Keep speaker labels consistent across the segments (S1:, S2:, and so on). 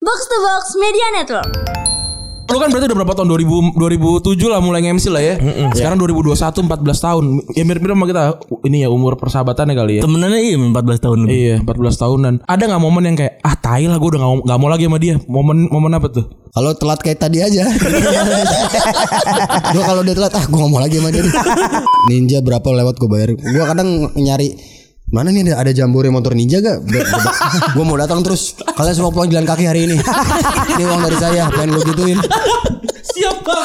S1: Box to Box Media Network.
S2: Lu kan berarti udah berapa tahun 2000 2007 lah mulai MC lah ya. Sekarang 2021 14 tahun. Ya mirip-mirip sama kita ini ya umur persahabatannya kali ya.
S3: Temenannya iya 14 tahun lebih.
S2: Iya, 14 tahunan. Ada nggak momen yang kayak ah tai lah gue udah nggak mau- nggak mau lagi sama dia. Momen momen apa tuh?
S4: Kalau telat kayak tadi aja. gua kalau dia telat ah gua nggak mau lagi sama dia. nih. Ninja berapa lewat gua bayar. Gua kadang nyari Mana nih ada, ada jambore motor ninja gak? Gua- gua- Gua mau datang terus. Kalian semua pulang jalan kaki hari ini. Ini uang dari saya, pengen lu gituin.
S2: Siapa?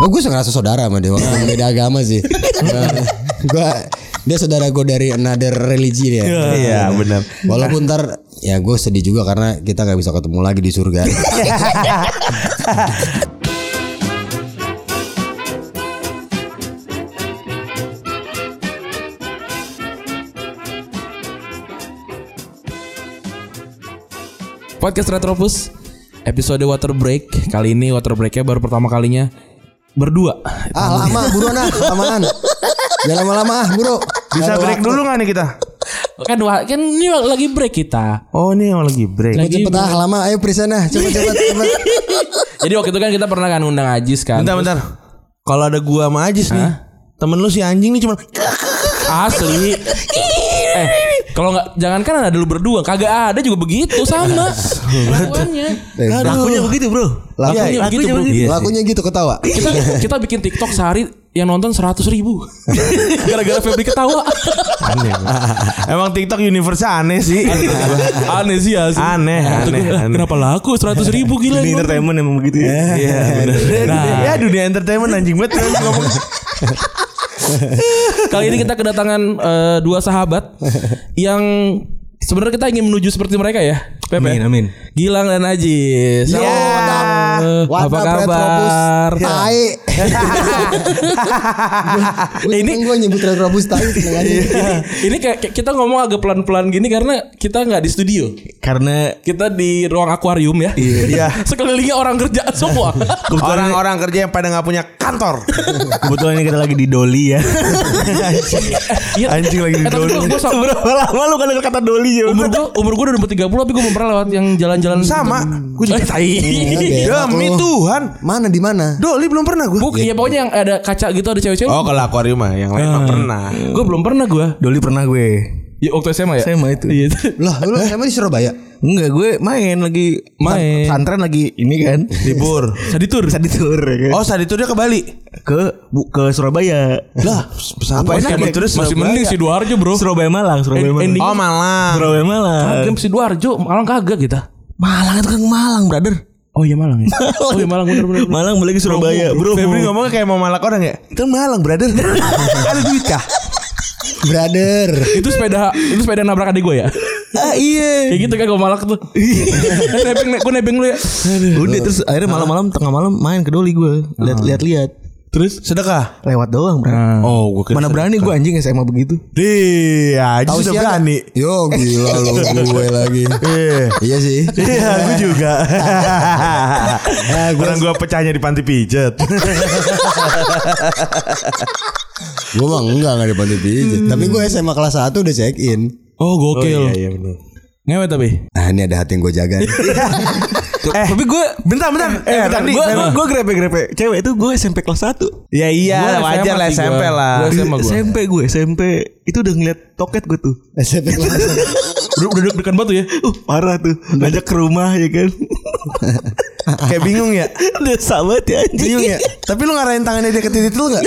S4: Oh, gue ngerasa saudara sama dia walaupun beda agama sih. gue dia saudara gue dari another religi dia.
S5: Iya, benar.
S4: Walaupun ntar ya gue sedih juga karena kita nggak bisa ketemu lagi di surga.
S2: Podcast Retropus episode Water Break. Kali ini Water Breaknya baru pertama kalinya berdua.
S4: ah lama buruan ah lamaan. Jangan lama-lama ah buru.
S5: Bisa break dulu nggak nih kita?
S2: Kan wa- kan ini lagi break kita.
S5: Oh, ini yang lagi break.
S4: Gue cepet ah lama ayo Prisana cepet cepet cepet.
S2: Jadi waktu itu kan kita pernah kan undang Ajis kan.
S5: Bentar, bentar. Kalau ada gua sama Ajis nih, temen lu si anjing nih cuma
S2: Asli.
S4: Iya.
S2: eh, kalau nggak jangankan ada lu berdua, kagak ada juga begitu sama. Lakuannya.
S4: Eh,
S5: lakunya begitu, Bro.
S4: Lakunya
S5: Iya,
S2: begitu, Bro.
S5: begitu.
S4: Lakunya gitu ketawa.
S2: kita kita bikin TikTok sehari yang nonton seratus ribu gara-gara Febri ketawa
S5: Aneh. Bro. Emang TikTok universe aneh sih.
S2: aneh sih asli
S5: Aneh,
S2: Kata
S5: aneh,
S2: gua,
S5: aneh.
S2: kenapa laku seratus ribu gila
S5: Dunia
S2: ini orang.
S5: entertainment emang begitu ya. Iya, benar.
S2: Nah.
S5: Ya dunia entertainment anjing banget lu ngomong.
S2: kali ini kita kedatangan eh, dua sahabat yang sebenarnya kita ingin menuju seperti mereka ya Pepe
S3: Amin, amin.
S2: Gilang dan Ajis Halo,
S5: Yeah.
S2: what up? Eh,
S4: What
S2: apa
S4: Ya. up, Retropus?
S2: kabar
S4: Tai. Ini gue nyebut retrobus tai seneng aja.
S2: Iya. ini kayak kayak kita ngomong agak pelan-pelan gini karena kita nggak di studio
S3: Karena
S2: kita di ruang akuarium ya
S5: Iya.
S2: sekelilingnya orang kerja semua
S5: Orang-orang kerja yang pada nggak punya kantor.
S3: kebetulan ini kita lagi di Doli ya.
S2: Iya.
S5: Anjing lagi di
S2: Eh, tapi
S5: Doli.
S2: gua- gua so-
S3: Berapa lama lu kan denger kata Doli ya?
S2: umur gue umur gue udah 30 tapi gue belum pernah lewat yang jalan-jalan
S5: Sama.
S2: gue
S3: Eh,
S2: juga tai
S4: Iya,
S5: Demi
S4: lu.
S5: Ya, Tuhan.
S4: Mana di mana?
S5: Doli belum pernah gua.
S2: Buk, ya pokoknya yang ada kaca gitu ada cewek-cewek
S5: Oh, kalau akuarium mah yang lain mah pernah.
S2: gue belum pernah gue
S3: Ah. Doli pernah gue.
S2: ya, waktu SMA ya
S3: SMA itu.
S2: iya
S4: Lah, lu emang di Surabaya?
S3: Enggak, gue main lagi
S2: Main.
S3: Santren lagi ini kan.
S5: Libur.
S2: tadi tur
S3: Bisa ditour ya kan.
S5: Oh, saat itu dia ke Bali.
S3: Ke bu, ke Surabaya. ya?
S5: Lah, apa
S2: Masih-
S5: enak
S2: masih,
S5: gitu
S2: masih mending si Duarjo bro
S3: Surabaya Malang, Surabaya
S2: End-
S3: Malang.
S2: ending-
S5: Oh, malah.
S3: Surabaya Malang.
S2: Game si Duarjo Malang kagak kita
S3: Malang itu kan Malang, brother.
S2: oh iya Malang ya oh iya Malang bener bener bener.
S3: Malang balik ke Surabaya, bro.
S5: Febri ngomongnya kayak mau malak orang ya. Itu malang, brother. Ada duit kah?
S4: Brother.
S2: itu sepeda itu sepeda nabrak adik gue ya
S3: Ah, iya.
S2: kayak gitu kan gue malak tuh nebeng gue nebeng lu ya
S3: Udah terus akhirnya malam-malam tengah malam main ke Doli gue. Lihat-lihat. Terus Hmm.
S5: Sedekah.
S3: lewat doang, bro.
S5: Oh, gue
S3: Mana berani gue anjing SMA begitu.
S5: Dih, aja
S4: Tahu
S5: sudah
S4: siapa?
S5: berani.
S4: Yo gila lo gue lagi. iya sih.
S5: Iya, gue juga.
S4: Nah, gue
S5: Orang gue pecahnya di panti pijet.
S4: gue mah enggak enggak di panti pijit. Tapi gue SMA kelas 1 udah check in.
S2: oh gokil
S3: iya,
S2: ngewet tapi
S4: Nah, ini ada hati yang gue jaga. nih.
S5: eh,
S3: Tapi gue
S5: bentar, bentar. Eh, bentar, Randi,
S3: gue
S5: bentar.
S3: gue grepe-grepe cewek itu gue SMP kelas 1
S5: Ya iya,
S2: Gua
S5: wajar
S2: SMA
S5: lah
S2: sih
S5: SMP
S2: gua.
S5: lah.
S2: Gua SMA gua.
S3: SMP gue SMP itu udah ngeliat toket gue tuh
S4: SMP kelas
S2: udah udah deg-degan batu ya
S3: uh parah tuh ngajak ke rumah ya kan
S5: Kayak bingung ya.
S3: udah sahabat ya anjing
S5: Bingung ya. Tapi lu ngarahin tangannya dia ke titik lu enggak?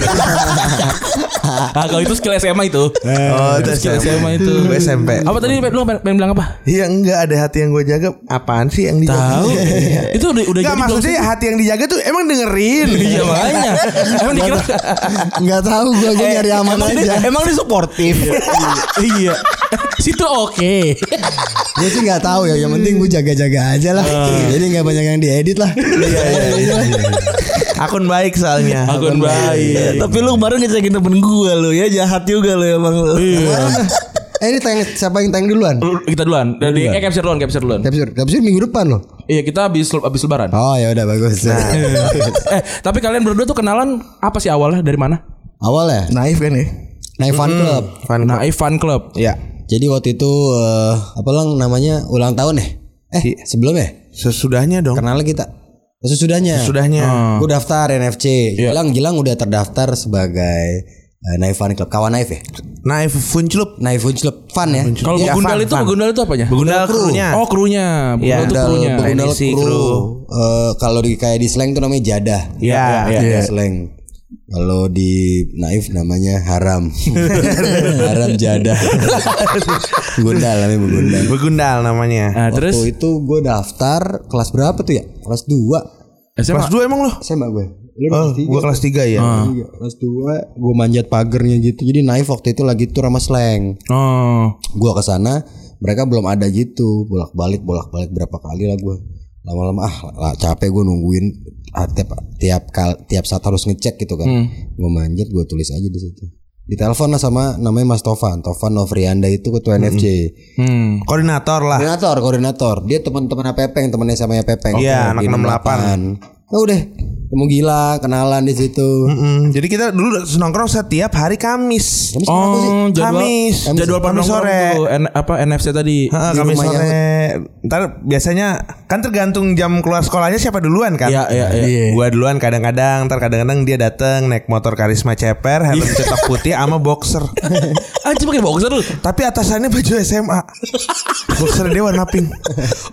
S2: ah kalau itu skill SMA itu
S3: Eh.
S5: Oh, itu
S2: skill SMA itu
S5: Gua SMP.
S2: apa tadi Pep? lu pengen pengen bilang apa
S5: Iya enggak ada hati yang gue jaga. Apaan sih yang dijaga?
S2: Tahu. itu udah udah
S5: Enggak
S2: jadi belum
S5: maksudnya hati yang dijaga tuh emang dengerin.
S2: sih? Iya makanya. Emang dikira
S4: Enggak tahu gue gue nyari aman
S2: emang
S4: aja.
S2: emang dia suportif. Iya. Situ oke.
S4: Gue sih enggak tahu ya, yang penting gue jaga-jaga aja lah. Jadi enggak banyak yang diedit lah. Ah. Iya iya
S5: Akun baik soalnya.
S2: Akun
S3: Ya,
S2: baik.
S3: tapi lu kemarin ngecekin temen gue lo ya jahat juga lo emang lu.
S2: Iya.
S4: Eh ini tayang siapa yang tayang duluan?
S2: Lu- Kita duluan. Dari eh capture duluan, capture duluan.
S4: Capsir, capsir minggu depan loh.
S2: Iya, kita habis habis lebaran.
S4: Iya. Oh ya udah bagus.
S2: Eh, tapi kalian berdua tuh kenalan apa sih awalnya dari mana?
S4: Awalnya
S3: naif kan ya
S4: naik fan club.
S2: Nah, eh, Fan Club. Fan Club.
S5: Ya.
S4: Iya. Jadi waktu itu eh, apa lang namanya ulang tahun ya? Eh sebelumnya
S5: Sesudahnya dong.
S4: Kenal kita Sesudahnya
S5: Sesudahnya.
S4: Gue daftar NFC Gilang Gilang udah terdaftar sebagai eh, Naif Fan Club Kawan Naif ya
S5: Naif Funclub.
S4: Naif Fan Club Fan ya
S2: Kalau
S5: Iya,
S2: begundal
S5: fun,
S2: itu
S5: fun.
S2: begundal itu apanya?
S5: Begundal krunya.
S2: Oh krunya. Begundal itu
S4: Begundal-
S2: krunya. Nah,
S4: Begundal
S5: Teknisi,
S4: kru.
S5: kru.
S4: Eh, kalau di kayak di slang tuh namanya jadah.
S5: Iya, iya,
S4: Jadah
S5: iya.
S4: slang. Kalau di naif namanya haram. haram jadah. Gundal namanya Gundal.
S5: Begundal namanya.
S2: Nah, terus
S4: Waktu itu gue daftar kelas berapa tuh ya? Kelas 2
S2: SMA.
S5: Kelas 2 emang lo?
S4: SMA gue. Lu
S5: Oh,
S4: kelas tiga.
S5: gua kelas 3 ya.
S4: Iya, kelas 2 gue manjat pagernya gitu. Jadi naif waktu itu lagi tur sama slang.
S2: Oh.
S4: gua ke sana mereka belum ada gitu bolak-balik bolak-balik berapa kali lah gua lama-lama ah lah, capek gue nungguin ah, tiap tiap kal- tiap saat harus ngecek gitu kan
S5: Hmm.
S4: gua manjat gua tulis aja di situ ditelepon lah sama namanya Mas Tovan Tovan Novrianda itu ketua NFC
S2: Hmm.
S5: Koordinator lah.
S4: koordinator koordinator dia teman-teman Pepeng temannya sama Pepeng
S5: Iya, anak
S4: Di
S5: 68.
S4: nah udah ketemu gila kenalan di situ
S5: Mm-mm. Hmm, Jadi kita dulu nongkrong setiap hari Kamis.
S4: Kamis kenapa sih?
S2: Oh, jadwal
S5: Kamis.
S2: jadwal
S5: Kamis
S2: Kamis
S5: sore.
S2: sore. apa NFC tadi?
S5: Heeh,
S4: Di
S5: Kamis
S4: rumahnya.
S5: sore. Ntar biasanya kan tergantung jam keluar sekolahnya siapa duluan kan.
S2: Iya, iya, iya.
S5: Iya. Gua duluan kadang-kadang, ntar kadang-kadang dia dateng naik motor karisma ceper, helm cetok putih sama boxer.
S2: Ah, cuma pakai boxer lu.
S5: Tapi atasannya baju SMA. boxer dia warna pink.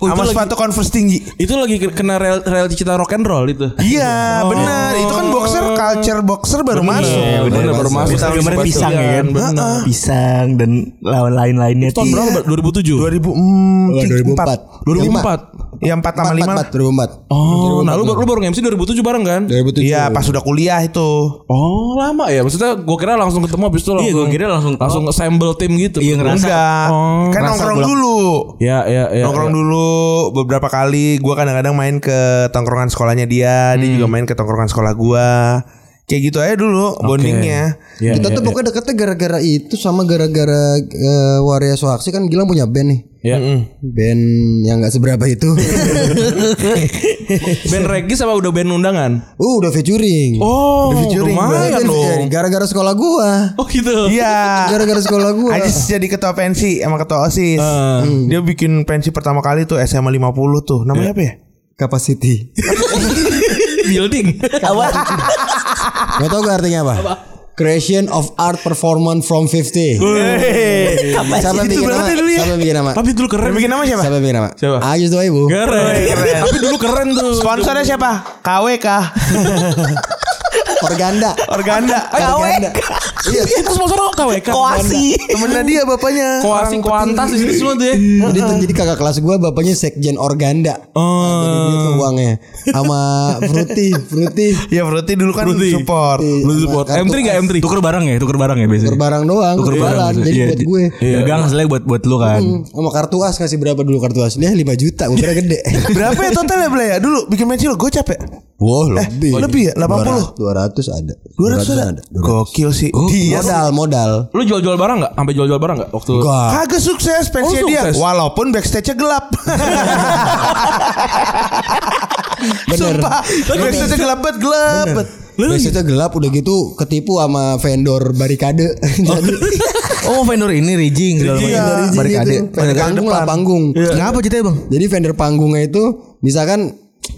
S2: Oh, itu
S5: Sama
S2: lagi-
S5: sepatu Converse tinggi.
S2: Itu lagi ke- kena real, reality cita rock and roll itu.
S5: Iya, benar. Itu kan boxer culture boxer baru masuk.
S2: Iya, bener, baru masuk.
S3: Tahun kemarin pisang ya kan.
S2: Bener.
S3: Pisang dan lain-lainnya.
S2: Tahun
S6: Iya.
S2: berapa? Mbak? 2007.
S5: Oh, 2004.
S2: 2004.
S5: Ya 4 sama 5.
S4: 2004
S2: Oh, nah lu, lu baru nge-MC 2007 bareng kan?
S4: 2007
S5: Iya, pas udah kuliah itu.
S2: Oh, lama ya. Maksudnya gua kira langsung ketemu habis itu langsung.
S3: gua kira langsung-
S2: langsung assemble tim gitu.
S3: Iya, ngerasa. Iya,
S5: Enggak.
S2: Oh.
S5: kan nongkrong dulu.
S2: Ya, ya, ya.
S5: nongkrong
S2: ya.
S5: dulu beberapa kali gua kadang-kadang main ke tongkrongan sekolahnya dia,
S3: Hmm.
S5: dia juga main ke tongkrongan sekolah gua. Kayak gitu aja dulu bondingnya.
S2: Iya,
S4: kita
S2: iya,
S4: tuh pokoknya deketnya gara-gara itu sama gara-gara eh, Waria Soaksi kan Gilang punya band nih.
S2: Ya.
S4: Band yang nggak seberapa itu.
S2: Band reggae sama udah band undangan?
S4: uh udah featuring.
S2: Oh,
S4: Iya,
S2: lumayan
S4: kan,
S2: loh.
S4: eh, gara-gara sekolah gua.
S2: Oh gitu.
S5: Iya.
S4: Gara-gara sekolah gua.
S5: Ajis jadi ketua pensi sama ketua OSIS.
S3: Ah.
S5: Dia bikin pensi pertama kali tuh SMA 50 tuh. Namanya
S3: Iya.
S5: apa ya?
S4: Capacity.
S2: Building.
S4: Gak tau gak artinya apa? Creation of Art Performance from 50. Siapa yang bikin nama? Siapa yang bikin nama?
S2: ya. Tapi dulu keren.
S5: Yang bikin nama siapa?
S4: Siapa yang bikin nama?
S2: Siapa?
S4: Ajis doa ibu.
S2: Keren. Tapi dulu keren tuh.
S5: Sponsornya siapa? KWK.
S4: Organda.
S5: Organda.
S4: Organda. Iya.
S2: Itu sponsor KWK.
S3: Koasi.
S5: Temennya dia bapaknya.
S2: Koasi kuantas di sini semua tuh ya.
S4: Jadi tuh jadi kakak kelas gua bapaknya sekjen Organda.
S2: Oh.
S4: Jadi dia tuh uangnya sama Fruity, Fruity.
S5: Ya berarti dulu kan support.
S2: Lu support.
S4: Kartu
S2: M3 enggak M3?
S6: Tuker barang ya, tuker barang ya biasanya.
S4: Tuker barang doang, tuker
S6: barang.
S4: barang. Jadi
S6: Iya,
S4: buat
S6: di-
S4: gue.
S6: Dagang hasilnya buat buat lu kan.
S4: Sama kartu as kasih berapa dulu kartu as? Dia 5 juta, gue kira gede.
S5: Berapa ya totalnya Blay ya? Dulu bikin pensi lo gocap ya?
S4: Wow, lebih.
S5: lebih ya? 80?
S4: 200 ada.
S5: 200 ada. Iya, Gokil sih. Dia
S4: Modal, modal.
S2: Lu jual-jual barang enggak? Sampai jual-jual barang enggak waktu?
S4: Gua
S5: kagak sukses
S2: Ah.
S5: pensi
S2: Oh,
S5: dia.
S2: sukses.
S5: Walaupun backstage-nya gelap.
S4: bener.
S5: Sumpah. Backstage-nya gelap banget, gelap. banget.
S4: Biasanya gelap udah gitu ketipu sama vendor barikade. Jadi
S3: Oh vendor ini Rijing segala
S4: Iya,
S3: macam.
S4: dari sini
S3: Barikade.
S4: itu. Vendor panggung lah panggung.
S6: Iya.
S4: Nah,
S3: Kenapa ceritanya bang?
S4: Jadi vendor panggungnya itu misalkan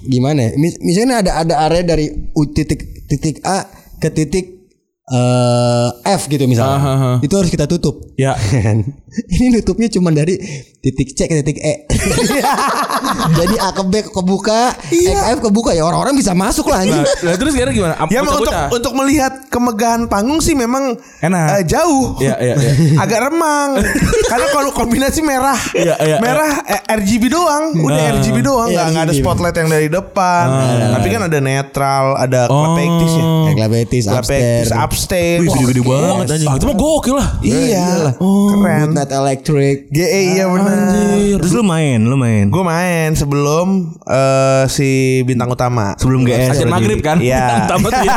S4: gimana? ya? Mis- Misalnya ada ada area dari U- titik titik A ke titik eh, F gitu misalnya.
S2: Ah, ah, ah.
S4: Itu harus kita tutup. Kan?
S2: Ya.
S4: Ini nutupnya cuma dari titik C ke titik E. Jadi A ke B kebuka, E ke F kebuka ya orang-orang bisa masuk lah
S2: Iya.
S4: anjing.
S2: Nah, nah, terus kira gimana? Apa
S5: Ya emang untuk
S2: bocah-bocah?
S5: untuk melihat kemegahan panggung sih memang
S2: Enak.
S5: eh, jauh.
S2: Iya, iya, iya.
S5: Agak remang. Karena kalau kombinasi merah,
S2: Iya, iya, Nah.
S5: merah eh, RGB doang, udah RGB doang, nggak nggak ada spotlight yang dari depan.
S2: nah.
S5: Tapi kan ada netral, ada oh. ya.
S4: Kayak Glabetis,
S5: Glapetis,
S4: upstairs,
S5: upstairs.
S2: Wih,
S5: Wah,
S2: gede-gede banget anjing. Ah, itu mah gokil lah.
S5: Iya, keren.
S2: Nah,
S4: Midnight Electric.
S5: GE iya benar.
S2: Anjir.
S3: Terus lu main, lu main.
S5: Gue main sebelum eh, si bintang utama.
S3: Sebelum E. GS.
S2: Azan maghrib kan?
S5: eh, Iya.
S2: Tamat ya.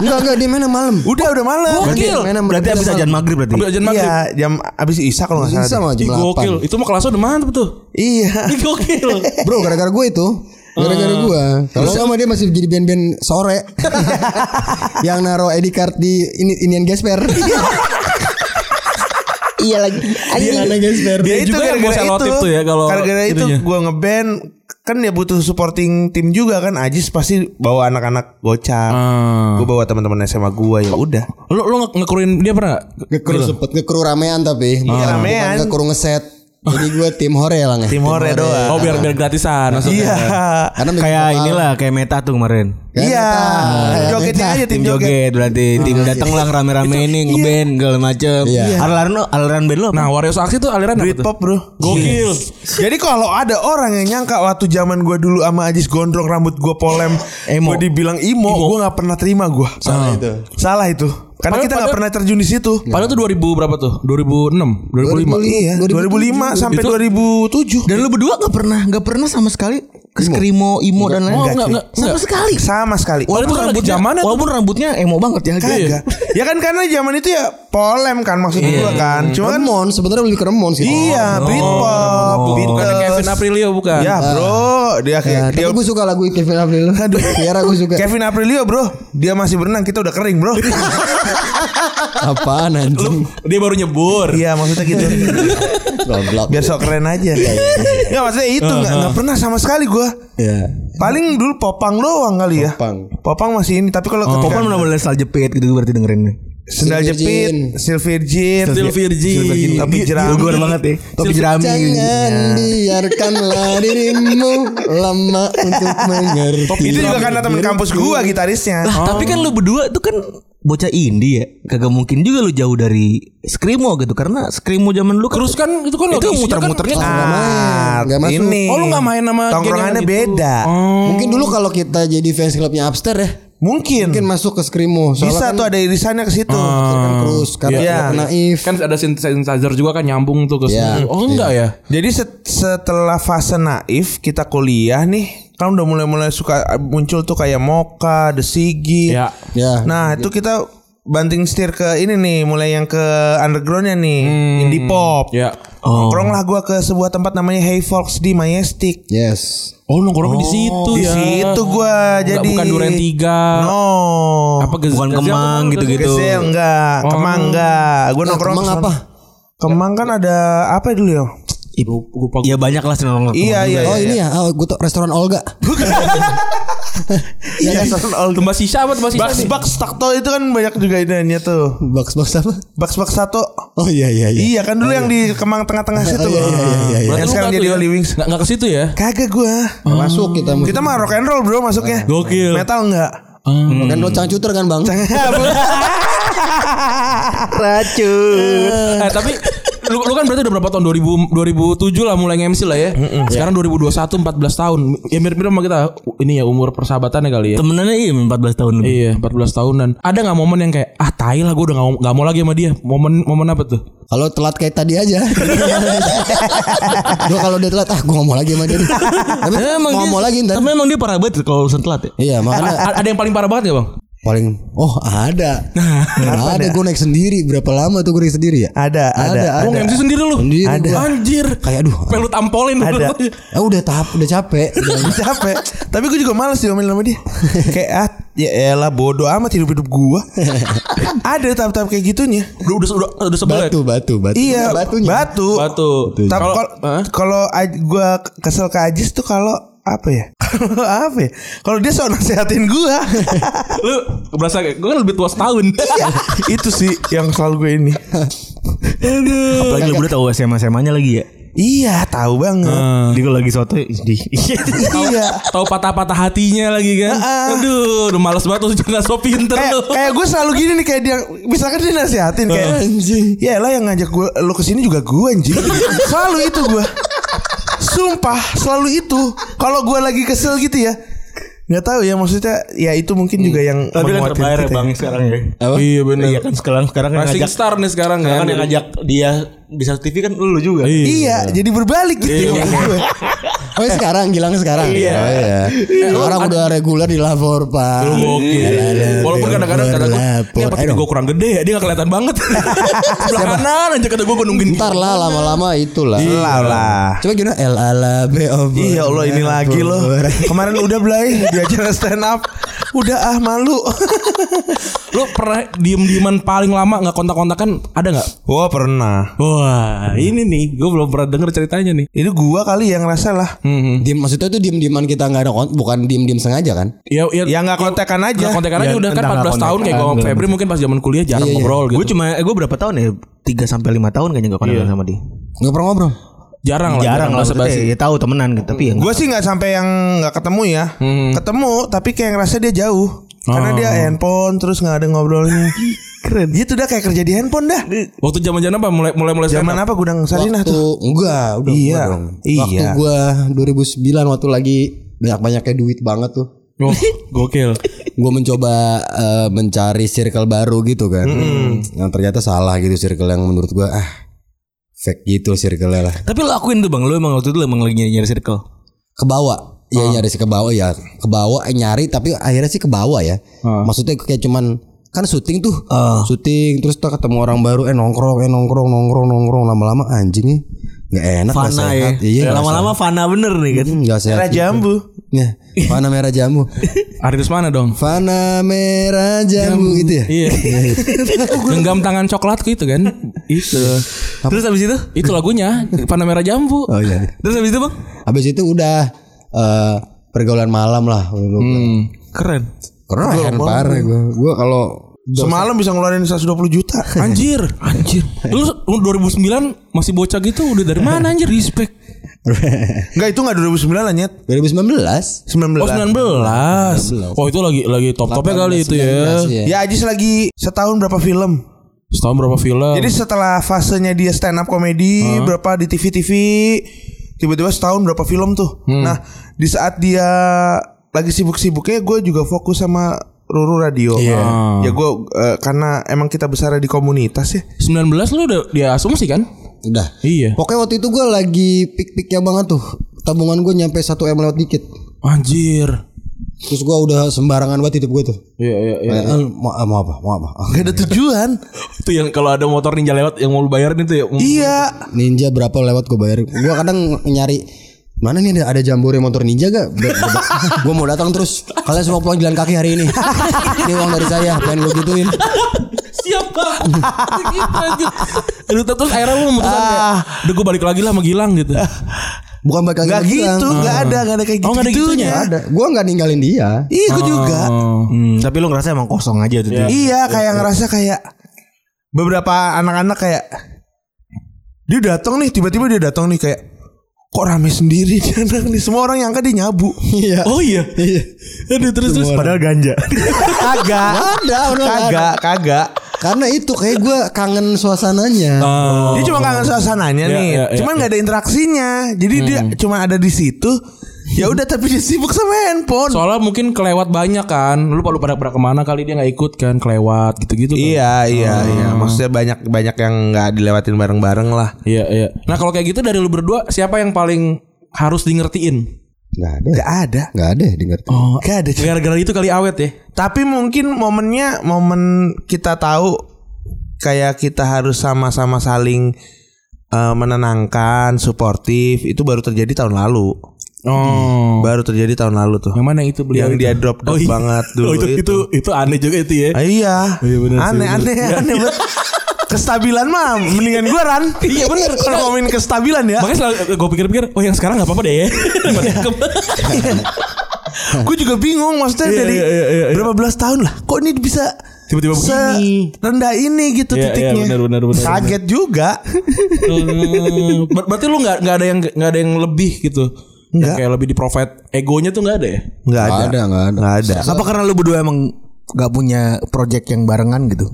S4: Enggak enggak dia mainnya malam.
S5: Udah udah malam.
S2: Gokil.
S4: Mainnya
S3: Berarti abis ajan maghrib berarti.
S2: Ambil ajan maghrib.
S5: Iya, jam abis Isa kalau nggak
S4: Bisa
S5: salah.
S4: mah
S2: Ih,
S4: jam 8.
S2: gokil. Itu mah kelasnya udah mantep tuh.
S5: Iya.
S2: Ih, gokil.
S4: Bro gara-gara gue itu Gara-gara
S5: Ah.
S4: gue Kalau sama dia masih jadi band-band sore Yang naro ID card di ini, Inian Gesper
S7: iya lagi anjing
S4: gesper.
S2: Dia
S5: Dia, Ya itu
S2: juga yang
S5: gara-gara
S2: bawa selotip
S5: itu,
S2: tuh ya kalau
S5: gara-gara itu
S2: itunya.
S5: gue ngeband kan dia butuh supporting tim juga kan Ajis pasti bawa anak-anak gocap
S2: Ah.
S5: gue bawa teman-teman SMA gue ya udah
S2: Lo lo nge- ngekruin dia pernah nggak?
S4: Ngekru sempet ngekru ramean tapi bukan,
S5: Iya, ramean.
S4: bukan ngekru ngeset. Jadi gue tim ya, hore lah nggak?
S5: tim hore doang
S2: Oh biar biar gratisan maksudnya.
S5: iya
S4: Karena
S6: kayak
S4: minimal-
S6: inilah kayak meta tuh kemarin.
S5: iya jogetnya aja tim
S6: Tim
S5: joget
S6: joget berarti
S3: Ah,
S6: tim datang
S3: iya.
S6: lah rame-rame ini ngeband segala macem.
S4: Iya.
S6: Aliran lo- aliran band lo apa?
S2: Nah, Warriors Aksi tuh aliran apa tuh?
S5: Britpop bro
S2: Gitu. Gokil.
S5: Jadi kalau ada orang yang nyangka Waktu zaman gue dulu sama Ajis gondrong Rambut gue polem
S6: Emo.
S5: Gue dibilang imo, Gue gak pernah terima gue Salah itu Salah itu Karena
S2: Padahal-
S5: kita gak
S2: padahal-
S5: pernah terjun di situ
S2: Padahal tuh 2000 berapa tuh? 2006, 2005.
S5: Iya 2005 sampai 2007
S7: dan lu berdua gak pernah gak pernah sama sekali ke skrimo imo dan lain-lain
S2: enggak, enggak,
S7: sama
S2: enggak.
S7: sekali
S5: Sama sekali
S2: Padahal itu kan lagi zamannya tuh.
S7: walaupun rambutnya emo banget ya
S6: Iya.
S5: Kagak. ya kan karena zaman itu ya polem kan maksud gue kan. Cuma kan
S4: Remon sebenarnya lebih ke Remon sih.
S5: iya Britpop,
S2: Bukan yang
S5: Beatles.
S2: Kevin Aprilio bukan.
S5: Ya bro, dia
S4: Ya,
S5: kayak
S4: tapi
S5: Iya, dia
S4: gue suka lagu Kevin Aprilio.
S5: Aduh.
S4: Tiara gue suka.
S5: Kevin Aprilio bro, dia masih berenang kita udah kering bro.
S4: Apaan anjing?
S2: Dia baru nyebur.
S5: Iya maksudnya gitu.
S4: Goblok.
S5: Biar sok keren
S2: Iya,
S5: aja. Nggak maksudnya itu nggak
S2: Uh-huh.
S5: nggak pernah sama sekali gue.
S4: Iya.
S5: Paling dulu popang doang kali ya.
S4: Popang.
S5: Popang masih ini. Tapi kalau
S2: Oh,
S5: ketika
S6: Popan
S2: kan.
S6: udah mulai sal jepit gitu berarti dengerin.
S5: sendal
S4: Silver Jean.
S5: jepit, silver jean,
S2: Still Virgin.
S5: tapi jerami.
S6: Gue banget ya. Tapi jerami.
S4: Jangan biarkanlah dirimu lama untuk mengerti.
S5: Itu juga karena teman kampus gue gitarisnya.
S6: Lah,
S2: Oh.
S6: tapi kan lu berdua tuh kan bocah indie ya. Kagak mungkin juga lu jauh dari skrimo gitu karena skrimo zaman lu kan
S2: Terus kan itu kan
S6: itu
S2: lagi isinya kan-
S6: muter-muternya kan
S5: Ah,
S4: nggak masuk.
S5: Ini.
S2: Oh, lu nggak main sama geng
S5: Tongkrongannya
S2: yang gitu.
S5: beda.
S4: Mungkin dulu kalau kita jadi fans clubnya Upster ya,
S5: Mungkin.
S4: mungkin masuk ke skrimo.
S5: bisa
S4: Soalnya kan
S5: tuh ada irisannya ke situ.
S2: Oh.
S4: kan terus karena
S5: Iya.
S4: yeah. naif.
S2: kan ada synthesizer juga kan nyambung tuh ke sini.
S4: Iya.
S2: Oh enggak ya?
S5: Jadi set- setelah fase naif kita kuliah nih, kan udah mulai-mulai suka muncul tuh kayak Moka, The Sigi.
S2: Ya.
S4: Ya.
S5: Nah, itu kita banting setir ke ini nih, mulai yang ke undergroundnya nih, indie pop.
S2: Ya.
S4: Oh.
S5: Nongkrong lah gua ke sebuah tempat namanya Hey Folks di Majestic.
S4: Yes.
S2: Oh nongkrongnya di situ
S5: Di
S2: ya.
S5: situ gua
S2: Enggak,
S5: jadi
S2: bukan Duren 3.
S5: No.
S2: Apa Oh. Gez-
S6: Bukan
S2: Gezel
S6: Kemang
S2: apa?
S6: gitu-gitu.
S5: Gezel enggak, Kemang enggak. Gua nongkrong
S4: Eh, Kemang
S5: kesana.
S4: apa?
S5: Kemang kan ada apa ya dulu ya?
S6: Ya banyak lah senang
S5: Iya, iya,
S4: oh
S5: iya.
S4: ini ya, oh, gue tau restoran Olga.
S5: Iya, Saturn All
S2: Tembak sisa apa tembak sisa?
S5: Bugs
S2: nih?
S5: Bugs Takto itu kan banyak juga idenya tuh.
S4: Box box apa?
S5: Bugs Bugs Tato.
S4: Oh iya iya iya.
S5: Iya kan dulu yang di Kemang tengah-tengah situ.
S4: iya, iya, iya, iya, iya.
S5: Yang
S2: Lu
S5: sekarang
S2: nggak
S5: jadi
S2: tuh ya?
S5: Holy Wings.
S2: Nggak nggak ke situ ya?
S5: Kagak gua.
S4: Masuk kita.
S5: Kita mah rock and roll bro masuknya.
S4: Ah,
S2: Gokil.
S5: Metal enggak?
S4: kan lo cangcuter kan bang?
S2: Eh tapi lu, lu kan berarti udah berapa tahun 2000 2007 lah mulai MC lah ya. Sekarang 2021 14 tahun. Ya mirip-mirip sama kita ini ya umur persahabatannya kali ya.
S6: Temenannya iya 14 tahun lebih.
S2: Iya, 14 tahunan. Ada nggak momen yang kayak ah tai lah gue udah nggak mau- nggak mau lagi sama dia. Momen momen apa tuh?
S4: Kalau telat kayak tadi aja. Gue kalau dia telat, ah gue mau lagi sama dia. nih. Tapi
S2: Eh,
S4: mau mau lagi ntar.
S6: Tapi emang dia parah banget kalau urusan telat ya.
S4: Iya makanya
S2: A- ada yang paling parah banget gak bang?
S4: paling oh ada. ada gue naik sendiri berapa lama tuh gue naik sendiri ya?
S5: Ada, ada.
S4: Ada,
S2: Lu MC sendiri lu.
S4: Sendiri
S2: Ada.
S4: gua.
S2: Anjir.
S4: Kayak aduh.
S2: Pelut ampolin
S5: Ada.
S4: Ah udah tahap udah capek. Udah.
S5: Capek. Tapi gua juga males diomelin sama dia. Kayak ah, ya elah bodoh amat hidup-hidup gua. ada tahap-tahap kayak gitunya.
S2: Udah udah udah, udah sebel ya?
S4: batu batu batu.
S5: Iya,
S4: batunya.
S5: batu.
S2: Batu.
S5: Tapi
S2: Gitu. Kalau-
S5: kalau
S2: Hah?
S5: kalau aj- gua kesel ke Ajis tuh kalau apa ya? Kalau apa ya? Kalau dia sok nasehatin gua.
S2: Lu berasa kayak gue kan lebih tua setahun.
S4: Iya.
S5: itu sih yang selalu gue ini.
S6: Apalagi lu udah tahu SMA-SMA-nya lagi ya.
S5: iya, tahu banget.
S6: Jadi kalau lagi soto sedih.
S5: iya.
S2: Tahu patah-patah hatinya lagi kan. Aduh, udah males banget lu jangan so pinter
S5: Kayak,
S2: lu.
S5: kayak gue selalu gini nih kayak dia misalkan dia nasehatin kayak ya lah yang ngajak gue lo kesini juga gue anjing selalu itu gue sumpah selalu itu kalau gue lagi kesel gitu ya nggak tahu ya maksudnya ya itu mungkin juga yang
S6: Tapi kan
S5: menguatkan
S6: terbayar ya
S5: kita ya.
S6: bang sekarang ya.
S2: Iya benar.
S6: Iya kan sekarang sekarang yang
S2: Rising
S6: ngajak
S2: star nih sekarang kan.
S6: kan yang ngajak dia bisa TV kan lu juga.
S5: Iya, jadi berbalik gitu.
S4: Oh ya sekarang Gilang sekarang. Iya. Oh, iya. Orang udah reguler di lapor pak.
S6: Iya,
S4: Iya,
S2: Gokil. Walaupun kadang-kadang Iya, kata gue, ini apa
S4: Ayo
S2: gue kurang gede ya? Dia gak kelihatan banget. Sebelah kanan aja kata gue gue nungguin.
S4: Ntar lah lama-lama itulah.
S5: Lah lah.
S4: Coba gimana L ala B
S5: Ya Iya Allah ini lagi loh. Kemarin udah belai di acara stand up. udah ah malu.
S2: Lu pernah diem-dieman paling lama nggak kontak-kontakan ada nggak?
S5: Wah pernah.
S2: Wah, ini nih, gue belum pernah denger ceritanya nih.
S5: Itu gua kali yang ngerasa lah.
S2: Mm-hmm.
S4: Diem, maksudnya itu diem-dieman kita nggak ada kon- bukan diem-diem sengaja kan?
S2: Ya, ya,
S5: Ya nggak kontekan aja. Iya,
S2: Nggak kontekan aja
S6: Ya,
S2: udah kan
S6: entah nggak
S2: 14 tahun kayak gue sama
S6: kontekan,
S2: Febri mungkin pas zaman kuliah jarang ngobrol gitu.
S6: Gue cuma eh, gue berapa tahun ya? 3 sampai 5 tahun kayaknya gak kontak sama dia.
S4: Nggak pernah ngobrol.
S2: jarang lah.
S6: Iya. Jarang lah
S2: basa-basi.
S6: maksudnya, ya, tahu temenan gitu, tapi ya
S5: Gue sih nggak sampai yang nggak ketemu ya. Ketemu tapi kayak ngerasa dia jauh. Karena dia handphone terus nggak ada ngobrolnya. Oh. Keren. Dia tuh udah kayak kerja di handphone dah.
S2: Waktu zaman-zaman apa mulai mulai mulai
S5: Zaman apa gudang Sarinah
S4: waktu
S5: tuh?
S4: enggak udah
S5: Iya.
S4: gua dong.
S5: Iya.
S4: Waktu gua 2009 waktu lagi banyak-banyaknya duit banget tuh.
S2: Oh, gokil.
S4: Gua mencoba eh, mencari circle baru gitu kan. Yang ternyata salah gitu circle yang menurut gua ah fake gitu circle-nya lah.
S6: Tapi lo akuin tuh bang, lo emang waktu itu lo emang lagi nyari, nyari circle.
S4: Kebawa. Iya
S6: Ah.
S4: nyari sih kebawa ya. Kebawa eh, nyari tapi akhirnya sih kebawa ya.
S6: Ah.
S4: Maksudnya kayak cuman kan syuting tuh. Syuting terus tuh ketemu orang baru eh nongkrong eh nongkrong nongkrong nongkrong lama-lama anjing nih. Nggak enak nggak
S6: Fana ya.
S4: sehat. Iya, nggak
S6: Lama-lama fana bener nih kan.
S4: sehat. Nggak sehat.
S5: Merah jambu.
S4: Ya, Fana merah jamu.
S2: Arinus mana dong?
S4: Fana merah jamu gitu ya.
S2: Iya. Genggam tangan coklat gitu kan. Itu.
S6: Terus abis itu?
S2: Itu lagunya Panah Merah Jambu.
S4: Oh iya.
S6: Terus abis itu bang?
S4: Habis itu udah eh, pergaulan malam lah. Hmm.
S6: Keren.
S4: Keren parah gue. Gue kalau
S5: Semalam bisa ngeluarin 120 juta.
S2: Anjir, anjir. Lu lu 2009 masih bocah gitu udah dari mana anjir respect.
S5: Enggak itu enggak 2009 lah nyet.
S4: 2019
S5: 19.
S2: Oh 19. Oh itu lagi lagi top-topnya kali itu ya.
S4: 19,
S5: Ya Ajis lagi setahun berapa film?
S2: Setahun berapa film?
S5: Jadi setelah fasenya dia stand up komedi berapa di TV-TV tiba-tiba setahun berapa film tuh.
S2: Hmm.
S5: Nah, di saat dia lagi sibuk-sibuknya gue juga fokus sama Ruru Radio.
S2: Iya.
S5: Ya gue karena emang kita besar di komunitas ya.
S2: 19 lu udah dia asumsi kan?
S4: Udah.
S2: Iya.
S4: Pokoknya waktu itu gue lagi pik-piknya banget tuh. Tabungan gue nyampe 1 M lewat dikit.
S2: Anjir.
S4: Terus gue udah sembarangan banget hidup gue tuh.
S2: Iya iya iya.
S4: Eh, eh, mau, eh, mau apa? Mau apa? Ah.
S5: Gak ada tujuan.
S2: Itu yang kalau ada motor ninja lewat yang mau lu bayarin itu ya.
S5: iya.
S4: Ninja berapa lewat gue bayar? Gue kadang nyari mana nih ada, ada jambore motor ninja gak? gue mau datang terus. Kalian semua pulang jalan kaki hari ini. ini uang dari saya. Pengen gue gituin.
S2: Siapa? gitu anjir. Aduh terus akhirnya lu memutuskan kayak udah gue balik lagi lah sama Gilang gitu.
S4: Bukan balik lagi.
S5: Gak gitu, gak ada, gak ada kayak gitu.
S2: Oh, nggak ada gitunya. Ah.
S4: Ada. Gue Ah. nggak ninggalin dia.
S5: Iya, gue juga.
S6: Hmm, tapi lo ngerasa emang kosong aja tuh. dia.
S5: Iya, kayak ngerasa kayak beberapa anak-anak kayak dia datang nih, tiba-tiba dia datang nih kayak kok rame sendiri dia datang nih. Semua orang yang dia nyabu.
S4: Iya.
S2: Oh iya. Iya. Aduh terus terus
S6: Padahal ganja.
S5: Kagak.
S4: Ada, bener,
S5: kagak, kagak.
S4: Karena itu kayak gue kangen suasananya.
S5: Dia cuma kangen suasananya
S2: Iya,
S5: nih.
S2: iya, iya,
S5: Cuman nggak ada interaksinya. Jadi dia cuma ada di situ. Ya udah tapi dia sibuk sama handphone.
S2: Soalnya mungkin kelewat banyak kan. Lu lu pada pada kemana kali dia nggak ikut kan kelewat gitu-gitu. kan.
S5: Iya, iya, iya. Maksudnya banyak banyak yang nggak dilewatin bareng-bareng lah.
S2: Iya iya. Nah kalau kayak gitu dari lu berdua siapa yang paling harus dingertiin?
S4: Gak ada.
S5: Gak ada.
S4: Gak ada ya, dengar.
S2: Oh, gak ada. Gara-gara itu kali awet ya.
S5: Tapi mungkin momennya momen kita tahu kayak kita harus sama-sama saling eh, menenangkan, suportif itu baru terjadi tahun lalu.
S2: Oh.
S5: Baru terjadi tahun lalu tuh.
S2: Yang mana itu beliau?
S5: Yang
S2: itu?
S5: dia drop drop
S2: Oh, iya.
S5: banget dulu
S2: Oh, itu, itu
S5: itu.
S2: itu aneh juga itu ya.
S5: Ah, iya.
S2: iya bener sih,
S5: aneh,
S2: bener.
S5: aneh,
S2: Iya.
S5: aneh banget. Kestabilan mah mendingan gue ran. Iya benar. Kalau ngomongin kestabilan ya.
S2: Makanya selalu gue pikir-pikir, oh yang sekarang nggak apa-apa deh ya. Daripada ke-
S5: gue juga bingung maksudnya
S2: Iya,
S5: dari
S2: iya, iya, iya, iya.
S5: berapa belas tahun lah kok ini bisa
S2: Tiba-tiba begini.
S5: rendah ini gitu
S2: Iya, iya,
S5: titiknya
S2: benar, benar, benar,
S5: kaget juga
S2: Hmm, ber- berarti lu nggak nggak ada yang nggak ada yang lebih gitu. Yang kayak lebih di provide egonya tuh nggak ada ya?
S5: nggak
S4: Gak ada, gak ada.
S5: nggak ada
S6: Apa karena lo berdua emang gak punya project yang barengan gitu?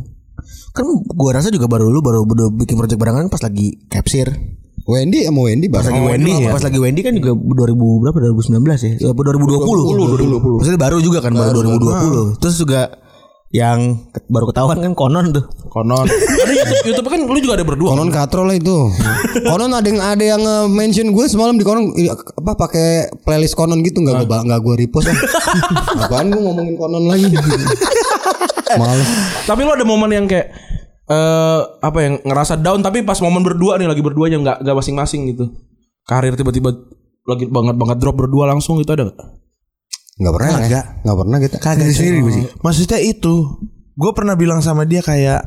S6: Kan gua rasa juga baru lu baru berdua bikin project barengan pas lagi capsir.
S4: Wendy sama Wendy
S6: Pas
S4: bareng.
S6: lagi Wendy, pas lagi Wendy kan juga 2000 berapa 2019 ya? Eh, Apa 2020? 2020. Maksudnya baru juga kan baru, 2020. Terus juga yang ke- baru ketahuan kan konon tuh.
S2: Konon. ada YouTube, YouTube kan lu juga ada berdua.
S4: Konon katro lah itu. konon ada yang ada yang nge- mention gue semalam di konon i- apa pakai playlist konon gitu nggak gue nggak gue repost. ah. Apaan gue ngomongin konon lagi? Males.
S2: Tapi lu ada momen yang kayak eh apa yang ngerasa down tapi pas momen berdua nih lagi berdua aja nggak nggak masing-masing gitu. Karir tiba-tiba lagi banget banget drop berdua langsung gitu ada nggak?
S4: Enggak pernah ya?
S5: Kagak.
S4: Enggak pernah kita.
S5: Kagak sendiri gue sih. Oh. Maksudnya itu, gue pernah bilang sama dia kayak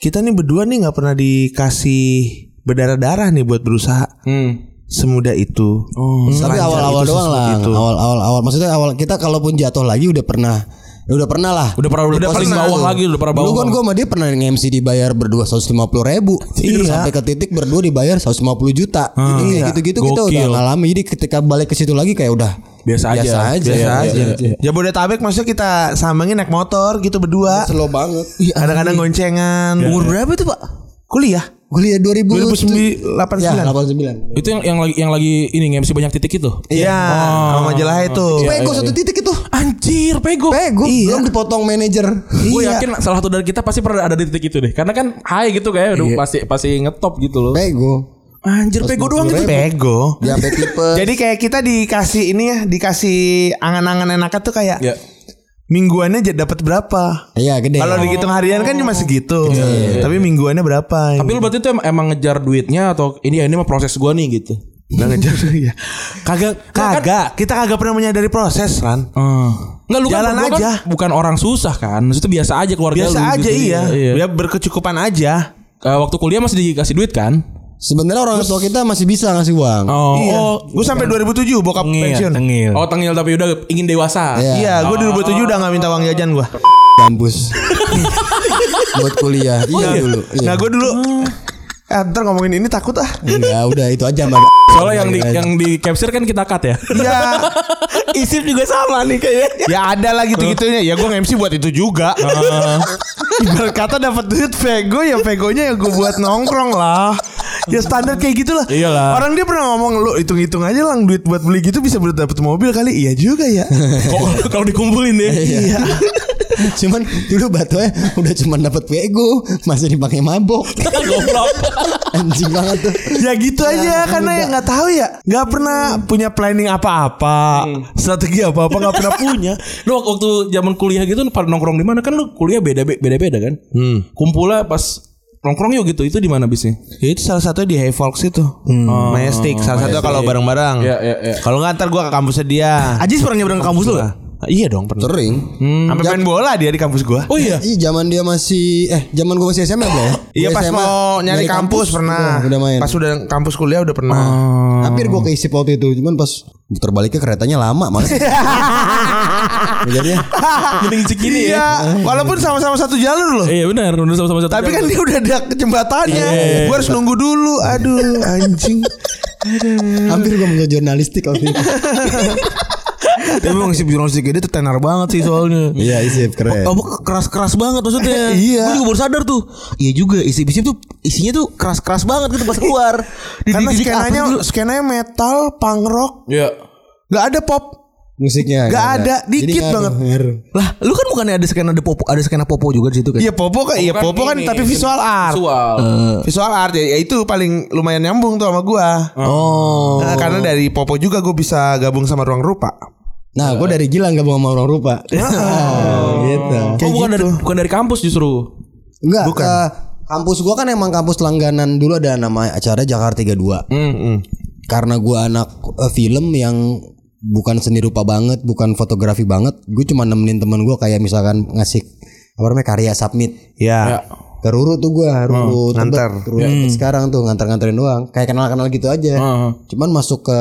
S5: kita nih berdua nih nggak pernah dikasih berdarah-darah nih buat berusaha.
S2: Hmm.
S5: Semudah itu.
S2: Oh.
S4: Tapi
S5: Selancar
S4: awal-awal
S5: itu,
S4: doang lah.
S5: sesulit itu.
S4: Awal-awal awal maksudnya awal kita kalaupun jatuh lagi udah pernah ya udah pernah lah.
S2: Udah pernah- udah paling
S4: pernah
S2: bawah
S4: tuh.
S2: lagi, udah pernah
S4: Dulu
S2: bawah.
S4: kan gue sama dia pernah nge-MC dibayar berdua 150 ribu
S5: Iya.
S4: Sampai ke titik berdua dibayar 150 juta Jadi kayak gitu-gitu kita
S2: Ah.
S4: udah
S2: Gokil.
S4: ngalami Jadi ketika balik ke situ lagi kayak udah
S2: Biasa aja.
S4: aja,
S2: Biasa
S4: Iya,
S2: aja.
S4: iya, iya.
S5: Jabodetabek maksudnya kita samangin naik motor gitu berdua.
S4: Slow banget
S2: Iya,
S5: Kadang-kadang goncengan. Umur berapa tuh pak? Kuliah. Iya,
S4: Kuliah 2000
S5: 2009
S4: Ya
S5: 89.
S4: 89
S2: Itu yang yang lagi yang lagi ini ngemsi banyak titik itu.
S5: Iya, sama majalah itu.
S2: Iya,
S4: Pego satu titik itu
S2: Anjir, pego.
S4: Pego
S2: iya.
S4: Belum dipotong manajer
S2: Gue
S4: Iya.
S2: yakin salah satu dari kita pasti pernah ada di titik itu deh. Karena kan high gitu kayak
S4: Iya.
S2: udah pasti pasti ngetop gitu loh.
S4: Pego
S2: Anjir, pego doang itu.
S5: Pego.
S4: Dia sampai tipe
S5: Jadi kayak kita dikasih ini ya, dikasih angan-angan enaknya tuh kayak
S2: Ya.
S5: mingguannya jadi dapat berapa?
S4: Iya gede
S5: Kalau dihitung harian kan cuma segitu. Tapi mingguannya berapa?
S2: Tapi lu berarti itu em- emang ngejar duitnya atau ini ya ini mah proses gua nih gitu.
S5: Nggak ngejar ya. Kagak
S2: kan-
S5: kagak kita kagak pernah menyadari proses, Ran.
S2: Enggak lu kan,
S5: Jalan
S2: lu
S5: aja.
S2: kan bukan orang susah kan. Maksudnya biasa aja keluarga
S5: Biasa
S2: lu
S5: aja
S2: gitu.
S5: iya. Ya berkecukupan aja.
S2: Eh, waktu kuliah masih dikasih duit kan?
S4: Sebenarnya orang tua kita masih bisa ngasih uang
S2: Oh,
S5: Iya.
S2: oh,
S5: gue sampai 2007 bokap pensiun.
S6: tengil.
S2: Oh tengil tapi udah ingin dewasa.
S4: Iya.
S5: Iya, gue 2007 udah gak minta uang jajan gue.
S4: kampus buat kuliah
S2: Oh,
S4: iya dulu iya.
S5: Nah gue dulu Eh, ntar ngomongin ini takut ah.
S4: Enggak, Iya, udah itu aja Mbak. Iya.
S2: Soalnya yang di yang di capture kan kita cut ya.
S5: Iya.
S6: Isir juga sama nih kayaknya.
S5: ya ada lah gitu-gitunya. Ya gue MC buat itu juga. Ibarat kata dapat duit vego ya vegonya ya gue buat nongkrong lah. Ya standar kayak gitulah.
S2: Iyalah.
S5: Orang dia pernah ngomong lu hitung-hitung aja lang duit buat beli gitu bisa dapat mobil kali. Iya juga ya.
S2: Kok kalau dikumpulin ya.
S4: Iya. cuman dulu batunya udah cuman dapat pego, masih dipakai mabok.
S5: kan
S2: Goblok.
S4: Anjing banget tuh.
S5: ya gitu aja karena ya nggak tahu ya nggak pernah punya planning apa-apa strategi apa-apa nggak pernah punya
S2: Lu waktu zaman kuliah gitu lu pada nongkrong di mana kan lu kuliah beda beda beda kan? Hmm. Kumpulnya pas nongkrong yuk gitu itu di mana bisnya?
S5: Ya, itu salah satu di Hey Fox itu
S6: Hmm. Oh,
S5: Majestic salah satu kalau bareng-bareng
S2: Iya, iya, iya.
S5: kalau nggak ntar gue ke kampusnya dia
S6: Ya, Ajis pernah nyebrang ke kampus lu nggak?
S5: Ah, iya dong pernah
S4: Sering.
S5: sampai main bola dia di kampus gue
S2: Oh iya.
S4: Ih, zaman dia masih eh zaman gua masih SMA belum?
S5: Iya
S4: Gua
S5: pas
S4: SMA,
S5: mau nyari kampus, pernah
S4: Udah, udah main.
S5: Pas udah kampus kuliah udah pernah
S4: Hampir gua keisi waktu itu, cuman pas putar baliknya keretanya lama ya. malah. Jadinya
S2: Gini gini ya.
S5: Iya Walaupun sama-sama satu jalur loh
S2: Iya benar, udah sama-sama satu
S5: Tapi kan
S2: jalur.
S5: dia udah ada jembatannya Gue harus nunggu dulu Aduh anjing
S4: hampir gua mau ke jurnalistik waktu itu.
S6: Tapi emang Isir jurnalistik dia tuh tenar banget sih soalnya.
S4: Iya, isip keren.
S6: Kamu keras-keras banget maksudnya. iya. Gue juga baru sadar tuh. Iya juga isi-isi tuh isinya tuh keras-keras banget gitu pas keluar.
S5: Karena
S6: Dididik apa
S5: skenanya
S6: dulu?
S5: skenanya metal, punk rock,
S2: Iya.
S5: nggak ada pop.
S4: Musiknya
S5: Gak ada, dikit banget.
S4: ngaruh.
S6: Lah, lu kan bukannya ada skena ada popo, ada skena popo juga di situ kan?
S5: Iya popo kan, iya popo kan
S2: ini,
S5: tapi visual art.
S2: Visual.
S5: Hmm. Visual art ya, ya itu paling lumayan nyambung tuh sama gua.
S6: Oh.
S5: Nah, karena dari popo juga gua bisa gabung sama ruang rupa.
S4: Nah, gue dari Gilang gak bawa sama orang rupa.
S6: Oh.
S4: gitu.
S2: Oh, bukan dari bukan dari kampus justru.
S4: Enggak, eh, kampus gua kan emang kampus langganan dulu ada nama acara Jakarta 32.
S6: Hmm,
S4: Karena gua anak eh, film yang bukan seni rupa banget, bukan fotografi banget, gue cuma nemenin temen gua kayak misalkan ngasih apa namanya karya submit. Nah,
S5: Ya.
S4: Ke Ruru tuh
S6: Hmm,
S4: gua, Ruru Tebet,
S5: nganter.
S4: Ruru Tebet sekarang tuh nganter-nganterin doang. Kayak kenal-kenal gitu aja.
S6: Hmm,
S4: Cuman masuk ke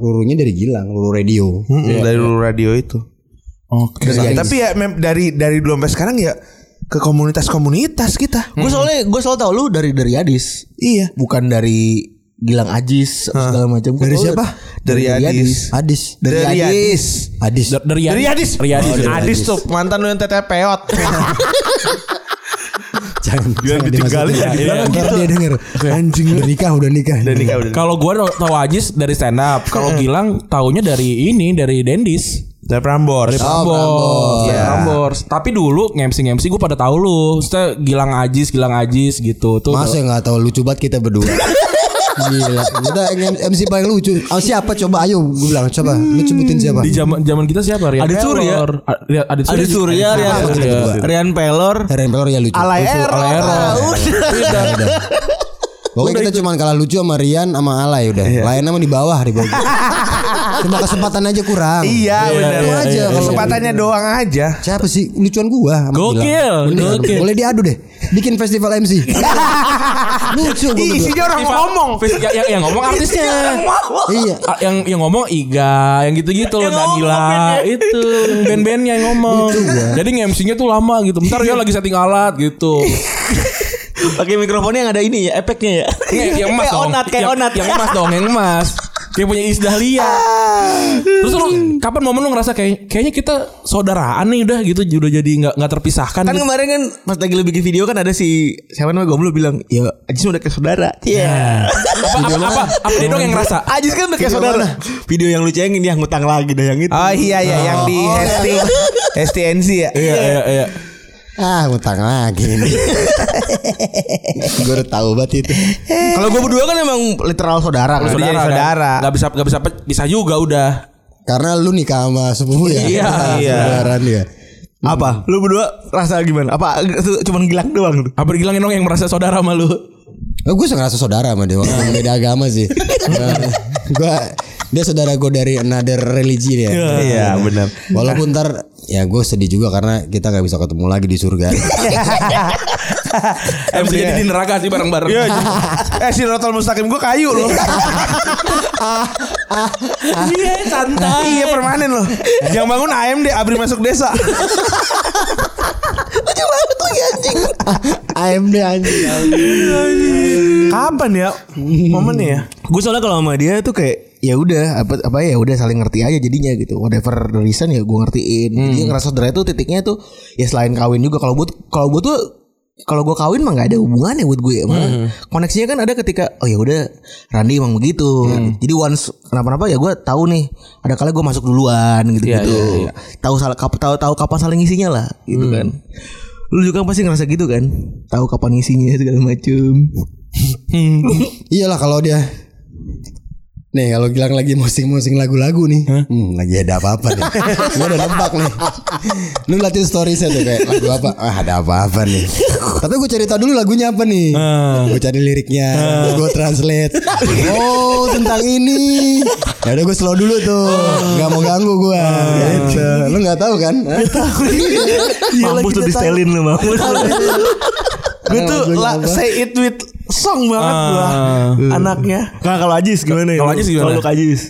S4: Rurunya dari Gilang, Ruru Radio.
S6: Hmm.
S5: Mm-mm, dari radio itu.
S2: Oke.
S5: Terus- tapi ya mem- dari dari dulu sampai sekarang ya ke komunitas-komunitas kita.
S6: Gue soalnya gue selalu tau lu dari dari Adis.
S5: Iya.
S6: Bukan dari Gilang Ajis atau segala macam. Gua
S5: Dari
S6: tahu
S5: siapa?
S6: Dari,
S5: Dari
S6: dari Adis.
S5: Adis.
S4: Adis.
S6: Dari,
S5: Dari
S6: Adis.
S5: Adis.
S4: Adis.
S2: Dari ya.
S5: Dari Adis.
S2: Riadis.
S5: Oh, dari Adis tuh mantan lu yang teteh peot.
S4: Jangan jangan
S5: ditinggalin,
S4: dimasukin.
S5: jangan
S4: Ntar dia denger.
S5: Anjing.
S4: Udah nikah, udah nikah.
S5: Dan nikah udah.
S2: Kalau gua tau- tahu Ajis dari stand up, kalau Gilang taunya dari ini dari Dendis.
S5: Dari Prambors.
S2: Prambors, dari Prambors. Tapi dulu ngemsi ngemsi gue pada tahu lu. Maksudnya Gilang Ajis, Gilang Ajis gitu. Tuh.
S4: Masa nggak tahu lucu banget kita berdua. Gila, kita yang MC paling lucu. Ah, siapa coba ayo gue bilang coba lu sebutin siapa?
S2: Di zaman zaman kita siapa? Rian
S6: Adit Surya.
S2: Pelor. A- Ria- Adit Surya.
S6: Adis Surya, Rian,
S2: Adit Surya.
S6: Rian Pelor,
S4: Heren Pelor ya lucu.
S6: Alay
S4: Lucu.
S6: Error. Ah, udah.
S4: Udah. Pokoknya kita cuma kalah lucu sama Rian sama Alay udah. Lainnya mah di bawah di bawah. Cuma kesempatan aja kurang.
S5: Iya benar.
S4: Itu aja kalau-
S5: Kesempatannya doang aja.
S4: Siapa sih lucuan gua? sama
S2: Gokil,
S4: Gilang. Bener.
S2: gokil.
S4: Boleh diadu deh. Bikin festival MC. Lucu gua
S5: Ih,
S4: berdua.
S5: isinya orang ngomong.
S2: Fes- ya- yang, yang ngomong artisnya.
S4: Iya.
S2: Ah, yang yang ngomong Iga, yang gitu-gitu loh Nadila itu band-bandnya yang ngomong. Jadi MC-nya tuh lama gitu. Bentar ya lagi setting alat gitu.
S6: Pakai mikrofonnya yang ada ini ya, efeknya ya.
S2: Yang, yang Iya, emas
S6: kayak
S2: dong.
S6: onat, kayak
S2: yang,
S6: onat.
S2: Yang emas dong, yang emas. Kayak punya Iis Dahlia. Terus lu kapan momen lu ngerasa kayak kayaknya kita saudaraan nih udah gitu udah jadi nggak nggak terpisahkan.
S6: Kan
S2: gitu.
S6: kemarin kan pas lagi lu bikin video kan ada si siapa namanya Gomblo bilang, "Ya, Ajis udah kayak saudara." Iya.
S2: apa apa apa, apa dia dong yang ngerasa?
S6: Ajis kan udah kayak saudara. Video yang lu cengin dia ngutang lagi dah yang itu.
S2: Ah,
S5: Oh iya ya yang di ST STNC ya.
S2: Iya iya iya.
S4: Ah, utang lagi ini. gua udah tahu banget itu.
S6: Kalau gue berdua kan emang literal saudara kan.
S5: Saudara,
S2: kan?
S5: saudara.
S2: Nggak bisa nggak bisa pe- bisa juga udah.
S4: Karena lu nikah sama sepupu ya.
S2: Iya,
S4: iya. Saudara dia.
S6: Apa? Lu berdua rasa gimana? Apa itu cuman gilang doang lu?
S2: Apa bilangin dong yang merasa saudara sama lu?
S4: Oh, gue ngerasa saudara sama dia walaupun beda agama sih. gua dia saudara gue dari another religi dia.
S5: Iya benar.
S4: Walaupun ntar ya gue sedih juga karena kita nggak bisa ketemu lagi di surga.
S2: Eh, bisa jadi di neraka sih bareng-bareng.
S5: Iya. Eh si Rotol Mustaqim gue kayu loh.
S2: Iya, santai.
S5: Iya permanen loh. Yang bangun AMD Abri masuk desa.
S4: AMD anjing.
S5: Kapan ya momennya ya?
S6: Gue soalnya kalau sama dia tuh kayak ya udah apa apa ya udah saling ngerti aja jadinya gitu whatever the reason ya gue ngertiin Jadi dia ngerasa saudara itu titiknya tuh ya selain kawin juga kalau buat kalau buat tuh kalau gue kawin mah nggak ada hubungannya buat gue Malah koneksinya kan ada ketika oh ya udah Randy emang begitu jadi once kenapa-napa ya gue tahu nih ada kali gue masuk duluan gitu gitu tahu salah kap- tahu tahu kapan saling isinya lah gitu kan lu juga pasti ngerasa gitu kan tahu kapan isinya segala macem
S4: Iyalah kalau dia Nih kalau Gilang lagi musing-musing lagu-lagu nih hmm, Lagi ada apa-apa nih Gue udah nebak nih Lu liatin story saya tuh kayak lagu apa Ah ada apa-apa nih Tapi gue cari tahu dulu lagunya apa nih
S5: Ah.
S4: Gue cari liriknya Gue translate Oh tentang ini Ya udah gue slow dulu tuh Gak mau ganggu gue
S5: Ah.
S4: gitu. Lu gak tahu kan
S6: mampus tuh di setelin lu mampus
S5: Gue tuh la- say it with song banget gua anaknya.
S6: Nah Ah. kalau Ajis gimana ya?
S2: Kalau Ajis gimana?
S6: Kalau lu ke Ajis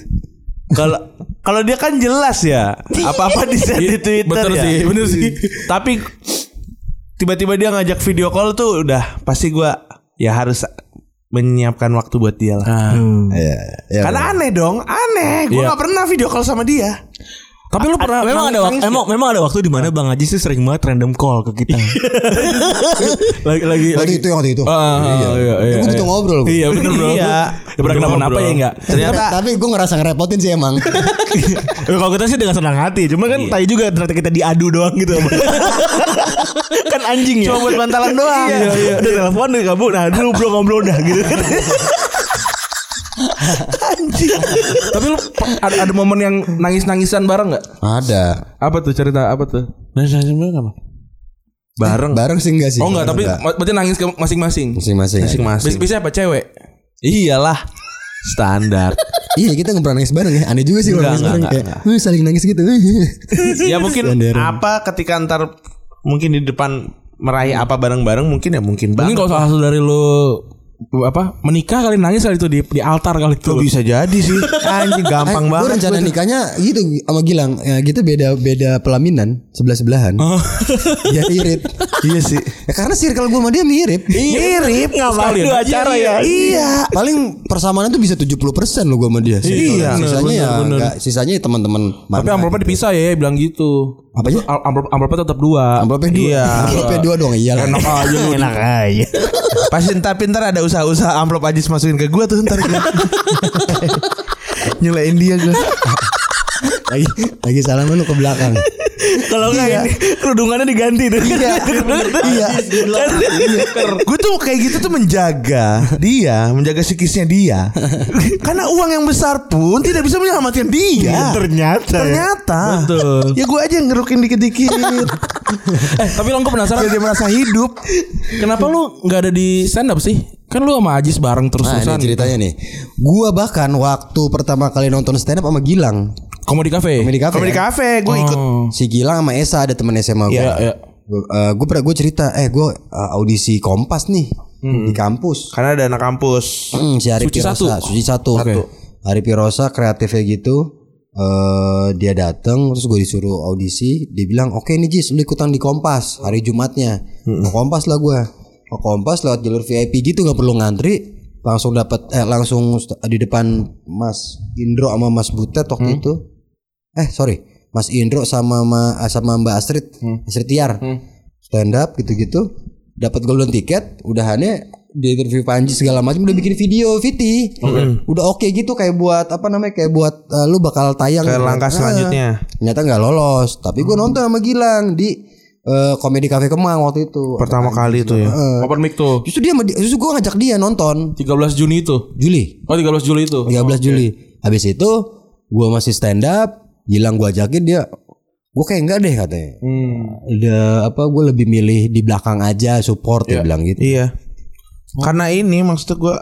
S5: Kalau kalau dia kan jelas ya apa-apa di share di Twitter
S2: Bener
S5: ya.
S2: Iya, sih, bener sih.
S5: Tapi tiba-tiba dia ngajak video call tuh udah pasti gua ya harus menyiapkan waktu buat dia lah.
S4: Iya, iya,
S5: Karena Kan aneh dong, aneh. Gue
S2: Iya.
S5: nggak pernah video call sama dia.
S2: Tapi lu pernah
S6: Memang ada waktu emang, memang ada waktu di mana Bang Ajis tuh sering banget random call ke kita.
S5: Iya.
S6: lagi lagi
S4: Waktu itu yang waktu itu
S5: Ah,
S2: iya, iya, iya,
S4: Gue butuh ngobrol gua.
S2: Iya bener bro
S5: Iya.
S2: Ya pernah kenapa-napa ya enggak
S4: Tapi- Tapi gue ngerasa ngerepotin sih emang
S6: Eh, kalau kita sih dengan senang hati, cuma kan tadi juga ternyata kita diadu doang gitu. kan anjing ya.
S5: Cuma buat bantalan doang.
S6: Iya, iya. Udah telepon dari kamu, nah dulu belum ngobrol dah gitu kan.
S2: Tapi lu pe- ada, ada momen yang nangis-nangisan bareng gak?
S4: Ada
S2: Apa tuh cerita apa tuh? Nangis-nangisan bareng apa? Bareng
S4: Eh, Bareng sih enggak sih
S2: Oh enggak tapi ma- berarti nangis ke masing-masing
S4: Masing-masing
S2: Bis- Bisa apa cewek? Iyalah Standar
S4: Iya kita nggak pernah nangis bareng ya Aneh juga sih kalau
S2: Enggak,
S4: nangis bareng
S2: enggak, Kan
S4: Kayak "Wih, saling nangis gitu
S2: Iya,
S5: Ya mungkin apa ketika ntar mungkin di depan meraih apa bareng-bareng mungkin ya mungkin
S2: Mungkin
S5: banget.
S2: kalau salah satu dari lu apa menikah kali nangis kali itu di, di altar kali itu
S5: bisa jadi sih. Anjing gampang
S4: Gue
S5: banget.
S4: Eh, rencana nikahnya gitu Sama Gilang ya, Kita beda beda pelaminan Sebelah-sebelahan
S2: Oh.
S4: Ya irit
S5: Iya sih.
S4: ya, Karena circle gue sama dia mirip
S2: Iya.
S5: Mirip ngapain
S2: Sekalian.
S5: lu acara ya? Iya.
S4: Paling persamaan tuh bisa 70% loh gue sama dia
S5: Iya,
S4: Sisanya ya enggak, Sisanya ya teman-teman
S2: Tapi amplopnya dipisah ya bilang gitu
S4: Apanya?
S2: Al- amplop, amplopnya tetap dua
S4: Amplopnya dua
S2: Iya
S4: Amplopnya dua dong Iya lah.
S2: aja lu
S6: Enak aja.
S5: Pasti ntar pintar ada usaha-usaha amplop Ajis masukin ke gua tuh ntar. gua. Nyelain dia gua.
S4: Lagi lagi salaman lu ke belakang
S6: Kalau enggak ini kerudungannya diganti tuh.
S4: Iya
S5: Gue tuh kayak gitu tuh
S6: Iya.
S5: menjaga dia, menjaga psikisnya dia. Karena uang yang besar pun tidak bisa menyelamatkan dia.
S6: Iya,
S2: Ah,
S6: Ternyata. ya.
S5: Ternyata. Ya gue aja yang ngerukin dikit-dikit.
S2: eh tapi lo gue penasaran
S5: Biar dia merasa hidup.
S2: Kenapa lu nggak ada di stand up sih? Kan lu sama Ajis bareng terus
S4: Nah, ini
S2: terusan.
S4: ceritanya nih. Gua bahkan waktu pertama kali nonton stand up sama Gilang,
S2: Eh, Komedi Cafe.
S4: komedi kafe.
S5: Komedi
S4: kan?
S5: kafe gue ikut.
S2: Oh.
S4: Si Gilang sama Esa ada teman SMA gua.
S2: Iya, iya.
S4: gue pernah gue cerita, eh gue uh, audisi Kompas nih di kampus.
S5: Karena ada anak kampus.
S4: Hmm, si Arif
S2: Suci
S4: Pirosa,
S2: satu.
S4: Suci satu.
S2: Oke.
S4: Arif Pirosa kreatifnya gitu. eh dia datang terus gue disuruh audisi dia bilang oke nih Jis lu ikutan di Kompas hari Jumatnya Ke Kompas lah gue ke Kompas lewat jalur VIP gitu nggak perlu ngantri langsung dapat eh langsung st- di depan Mas Indro sama Mas Butet waktu itu eh sorry Mas Indro sama Ma- eh, sama Mbak Astrid
S5: Hmm.
S4: Astrid Tiar stand up gitu-gitu dapat golden ticket udahannya di interview Panji segala macam udah bikin video Viti udah oke gitu kayak buat apa namanya kayak buat eh, lu bakal tayang
S5: Ke langkah
S4: Ah,
S5: selanjutnya. Hmm.
S4: ternyata nggak lolos tapi gue nonton sama Gilang di eh, komedi cafe Kemang waktu itu Eh,
S5: Pertama kali itu ya.
S2: Open mic tuh.
S4: justru dia sama dia- justru gue ngajak dia nonton
S2: 13 Juni itu.
S4: Juli
S2: Oh 13 Juli itu.
S4: 13 Juli. Habis itu gua masih stand up, Gilang gua ajakin dia gua kayak enggak deh katanya.
S5: Hmm.
S4: Udah apa gua lebih milih di belakang aja support dia bilang gitu.
S5: Iya. Karena ini maksud gue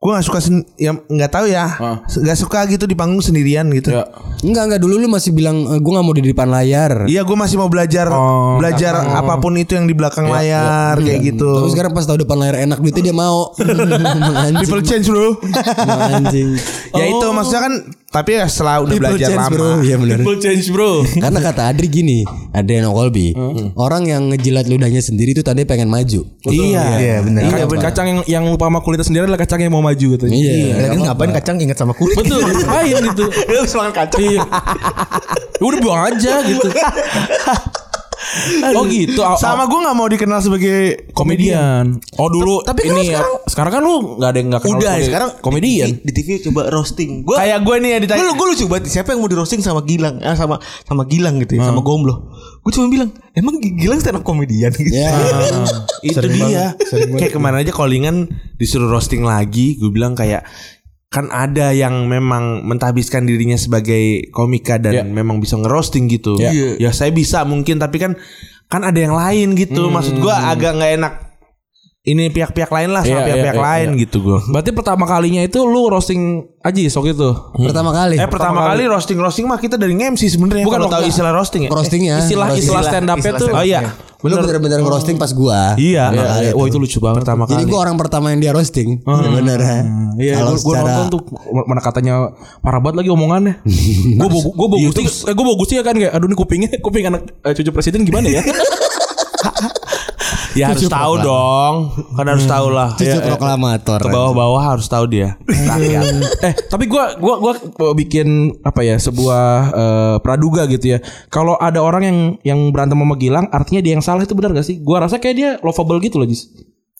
S5: gue nggak suka sen- ya nggak tahu ya nggak suka gitu di panggung sendirian gitu
S2: Ya.
S4: Enggak enggak dulu lu masih bilang "Eh, gua nggak mau di depan layar.
S5: iya gue masih mau belajar belajar apapun itu yang di belakang layar kayak gitu
S4: Kan. Tapi sekarang pas tahu depan layar enak duitnya dia mau. Emang anjing.
S5: people change bro
S4: emang anjing.
S5: ya itu maksudnya kan tapi ya setelah udah
S4: People
S5: belajar
S4: change,
S5: lama
S4: bro. Iya benar.
S2: Full change bro.
S4: Karena kata Adri gini, Adriano Colby, orang yang ngejilat ludahnya sendiri itu tadi pengen maju.
S2: Iya.
S6: Iya, bener.
S2: Iya, bener. Kacang yang yang lupa sama kulitnya sendiri adalah kacang yang mau maju gitu.
S4: Iya.
S6: Lagi ngapain kacang inget sama kulit?
S2: Betul. Ngapain itu?
S6: Lu habis makan kacang.
S2: Iya. Ya udah buang aja gitu. Oh gitu. aw-
S5: sama gue nggak mau dikenal sebagai
S2: komedian. Oh dulu
S6: Tapi kan lu
S2: ini ya.
S6: sekarang-
S2: Sekarang kan lu nggak ada yang nggak kenal
S6: Udah
S2: sebagai
S6: sekarang
S2: komedian.
S6: di TV coba roasting. Gua
S5: kayak gue nih ya ditanya
S6: Gue lu gue lucu banget siapa yang mau di roasting sama Gilang eh, sama sama Gilang gitu ya, sama Gomblo. Gue cuma bilang emang G- Gilang stand up komedian gitu.
S4: Ya.
S5: Ah. itu dia kayak kemarin aja callingan disuruh roasting lagi gue bilang kayak kan ada yang memang mentahbiskan dirinya sebagai komika dan
S2: Ya.
S5: memang bisa ngerosting gitu ya saya bisa mungkin tapi kan kan ada yang lain gitu maksud gua agak nggak enak ini pihak-pihak lain lah sama
S2: Iya,
S5: pihak-pihak
S2: iya, iya,
S5: lain gitu gua
S2: Berarti pertama kalinya itu lu roasting Aji sok itu.
S4: Pertama kali.
S5: eh pertama kali roasting roasting mah kita dari MC sebenarnya
S2: Bukan,
S5: kalau
S2: enggak.
S5: tahu istilah roasting ya
S4: Roastingnya.
S2: Istilah istilah stand up-nya tuh.
S5: oh iya
S4: Lu bener-bener ngerosting pas gua.
S5: iya
S2: Iya, iya. Wah itu lucu banget.
S5: pertama
S4: Jadi
S5: kali
S4: gue orang pertama yang dia roasting Bener ya
S2: Ah. Iya,
S4: Kalau
S2: gue
S4: secara
S2: nonton tuh mana katanya parah banget lagi omongannya. gue bawa gue bawa gusti, eh gue bawa gusti ya kan kayak aduh ini kupingnya kuping anak eh, cucu presiden gimana ya?
S5: ya harus tahu dong kan harus tahu lah
S2: Hmm.
S4: Cucu
S5: Iya, iya.
S4: proklamator
S5: ke bawah-bawah harus tahu dia rakyat
S2: eh tapi gue gua gua bikin apa ya sebuah eh, praduga gitu ya. Kalau ada orang yang yang berantem sama Gilang, artinya dia yang salah itu benar gak sih? Gue rasa kayak dia lovable gitu loh Jis.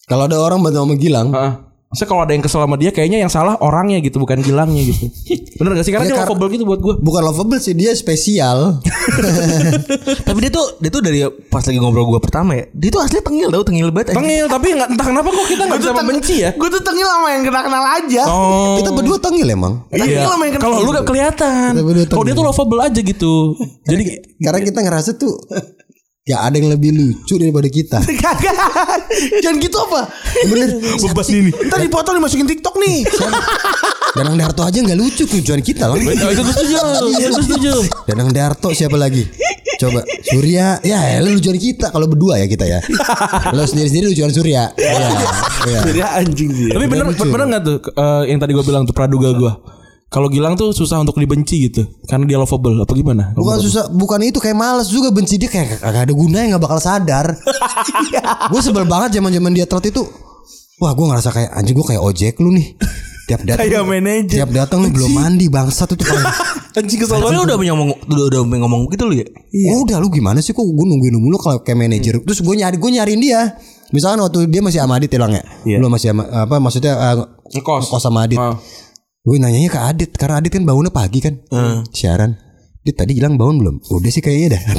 S4: Kalau ada orang bantu sama Gilang
S2: Heeh. Maksudnya kalau ada yang kesel sama dia kayaknya yang salah orangnya gitu bukan Gilangnya gitu. Bener gak sih? Karena
S4: Ya,
S2: dia
S4: kar-
S2: lovable gitu buat gue.
S4: Bukan lovable sih Dia spesial
S6: Tapi dia tuh dia tuh dari pas lagi ngobrol gue pertama ya, dia tuh asli tengil tau tengil banget. anjing.
S2: Tengil tapi nggak entah kenapa kok kita nggak bisa membenci ya.
S5: Gue tuh tengil sama yang kenal-kenal aja.
S2: Oh.
S4: Kita berdua tengil emang
S2: Iya.
S5: Tengil sama yang kenal.
S2: Kalau lu gak kelihatan.
S4: Kita berdua
S2: Kalau dia tuh lovable aja gitu. Jadi
S4: Karena kita ngerasa tuh Ya ada yang lebih lucu daripada kita
S5: Kagak. Jangan gitu apa?
S4: Bener
S5: Bebas ini. Ntar dipotong dimasukin TikTok nih.
S4: Danang Darto aja gak lucu tujuan kita Iya, loh
S2: Nah, itu gue setuju, itu setuju.
S4: Danang Darto siapa lagi Coba Surya Ya lu lucuan kita Kalau berdua ya kita ya Lo sendiri-sendiri lucuan Surya Iya Iya.
S2: Tapi bener bener nggak tuh eh, yang tadi gue bilang tuh praduga gue. Kalau Gilang tuh susah untuk dibenci gitu karena dia lovable apa gimana?
S4: Bukan susah, bukan itu kayak males juga benci dia kayak kagak ada gunanya nggak bakal sadar. gue sebel banget zaman zaman dia telat itu. Wah gue ngerasa kayak anjing gue kayak ojek lu nih. Tiap datang
S5: Kayak manajer.
S4: Tiap datang lu belum mandi bangsat itu paling.
S2: Anjing kesel
S6: Tapi lu udah ngomong udah udah ngomong gitu lu ya.
S2: Iya.
S4: Oh, udah lu gimana sih kok gue nungguin lu mulu kalau kayak manajer.
S2: Hmm.
S4: Terus gue nyari gue nyariin dia. Misalkan waktu dia masih sama Adit hilang ya. Belum masih sama apa maksudnya eh,
S2: Iya. Ngekos.
S4: sama Adit.
S2: Ah. Hmm.
S4: Gue nanyanya ke Adit karena Adit kan bangunnya pagi kan. Siaran. dia tadi bilang bangun belum? Udah sih kayaknya dah.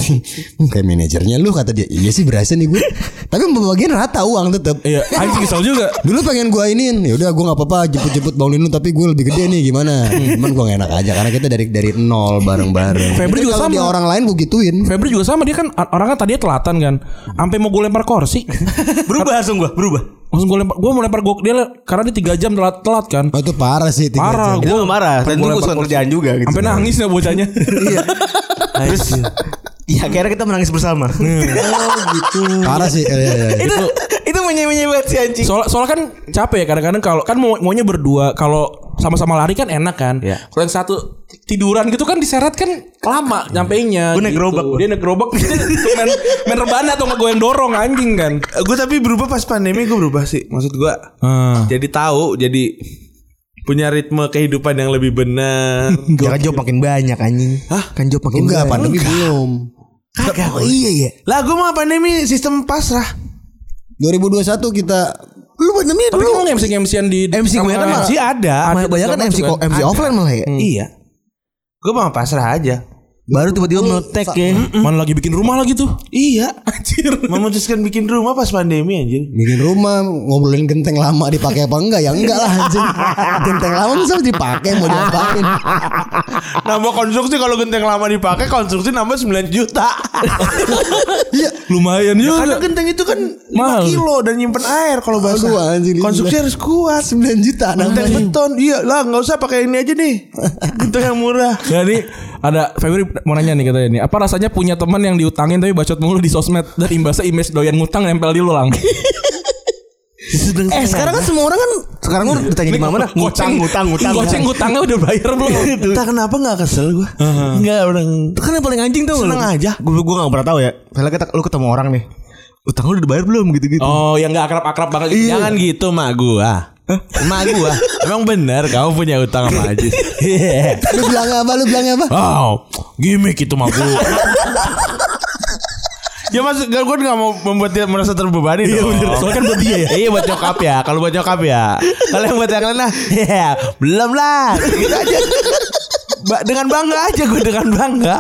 S4: Hmm, Kayak manajernya lu kata dia. Iya sih berasa nih gue. Tapi pembagian rata uang tetep.
S2: Iya, anjing kesel juga.
S4: Dulu pengen gue iniin. Ya udah gue nggak apa-apa jemput-jemput bangunin lu tapi gue lebih gede nih gimana? Hmm, Cuman gue gak enak aja karena kita dari dari nol bareng-bareng.
S2: Febri
S4: Tapi
S2: juga
S4: kalau
S2: sama.
S4: Dia orang lain gue gituin.
S2: Febri juga sama dia kan orangnya tadinya telatan kan. Sampai mau gue lempar kursi.
S6: berubah langsung gua berubah
S2: Langsung gue lempar, gue mau lempar gue dia karena dia tiga jam telat telat kan.
S4: Oh, itu parah sih. tiga
S2: Parah,
S4: jam.
S6: itu
S2: gue
S6: marah dan itu musuhan kerjaan juga gitu Iya,
S2: sampai nangis ya bocahnya.
S6: terus
S1: iya,
S6: ya akhirnya kita menangis bersama
S4: Parah sih. Iya, iya, iya.
S6: itu itu menyemenye banget si anjing
S2: Soal soalnya kan capek ya kadang-kadang kalau kan mau maunya berdua kalau sama-sama lari kan enak kan.
S6: Iya.
S2: Kalau yang satu tiduran gitu kan diseret kan lama nyampeinnya. gitu.
S6: Gua naik gerobak, gua.
S2: Dia naik gerobak dia main, main rebana atau nggak gue yang dorong anjing kan.
S5: Gue tapi berubah pas pandemi gue berubah sih. Maksud gue
S2: Ah.
S5: jadi tahu jadi punya ritme kehidupan yang lebih benar.
S1: Ya kan job makin banyak anjing. Hah? Kan job makin
S4: Enggak,
S1: banyak.
S4: pandemi belum.
S1: Kagak. Oh, iya ya.
S5: lah gue mah pandemi sistem pasrah.
S4: 2021 kita
S1: Lu pandemi
S2: Tapi
S1: dulu
S2: kan lu MC MC-an di
S1: MC
S2: sama-
S1: gue kan
S5: Masih
S6: Ah,
S5: ada.
S1: masih banyak kan
S2: Ada
S1: MC
S2: juga.
S1: ko- MC offline malah
S6: Hmm.
S1: ya.
S5: Iya. Gue mah pasrah aja.
S1: Baru tiba-tiba meletek ya.
S2: Mana lagi bikin rumah lagi tuh?
S5: Iya.
S2: Anjir.
S5: Memutuskan bikin rumah pas pandemi anjir.
S4: bikin rumah ngobrolin genteng lama dipakai apa enggak ya enggak lah anjing genteng lama bisa dipakai mau diapain
S5: Nambah konstruksi kalau genteng lama dipakai konstruksi nambah 9 juta.
S2: Lumayan
S5: Karena
S2: juga.
S5: genteng itu kan 5
S2: Mahal.
S5: kilo dan nyimpen air kalau basah.
S4: Aduh, anjing, ini
S5: konstruksi
S4: gila.
S5: harus kuat.
S4: 9 juta
S5: Genteng
S4: namanya
S5: beton. Iya lah nggak usah pakai ini aja nih. Genteng yang murah.
S2: Ya nih ada Febri mau nanya nih katanya nih apa rasanya punya teman yang diutangin tapi bacot mulu di sosmed dan imbasnya image doyan ngutang nempel di lu lang.
S1: Eh sekarang kan semua orang kan sekarang kan ditanya di mana-mana
S2: Goceng ngutang ngutang. Goceng ngutangnya udah bayar belum?
S5: Entah kenapa nggak kesel gue. Nggak orang.
S1: Kan yang paling anjing tuh Seneng aja Gue gue gak pernah tau ya Misalnya kita, lu ketemu orang nih Utang lu udah dibayar belum gitu-gitu
S2: Oh, yang gak akrab-akrab banget gitu.
S5: Jangan gitu mak gua. Mak gua. Emang bener kamu punya utang sama Ajis. Iya.
S4: lu bilang apa lu bilang apa
S2: Oh, gimmick itu mah gua.
S5: ya mas, gue nggak mau membuat dia merasa terbebani
S2: Iya,
S5: dong.
S2: bener. Soalnya kan buat dia ya.
S5: iya buat nyokap ya. Kalau buat nyokap ya. Kalau yang buat yang lain lah, ya, belum lah. Gitu aja. Ba- dengan bangga aja gue dengan bangga.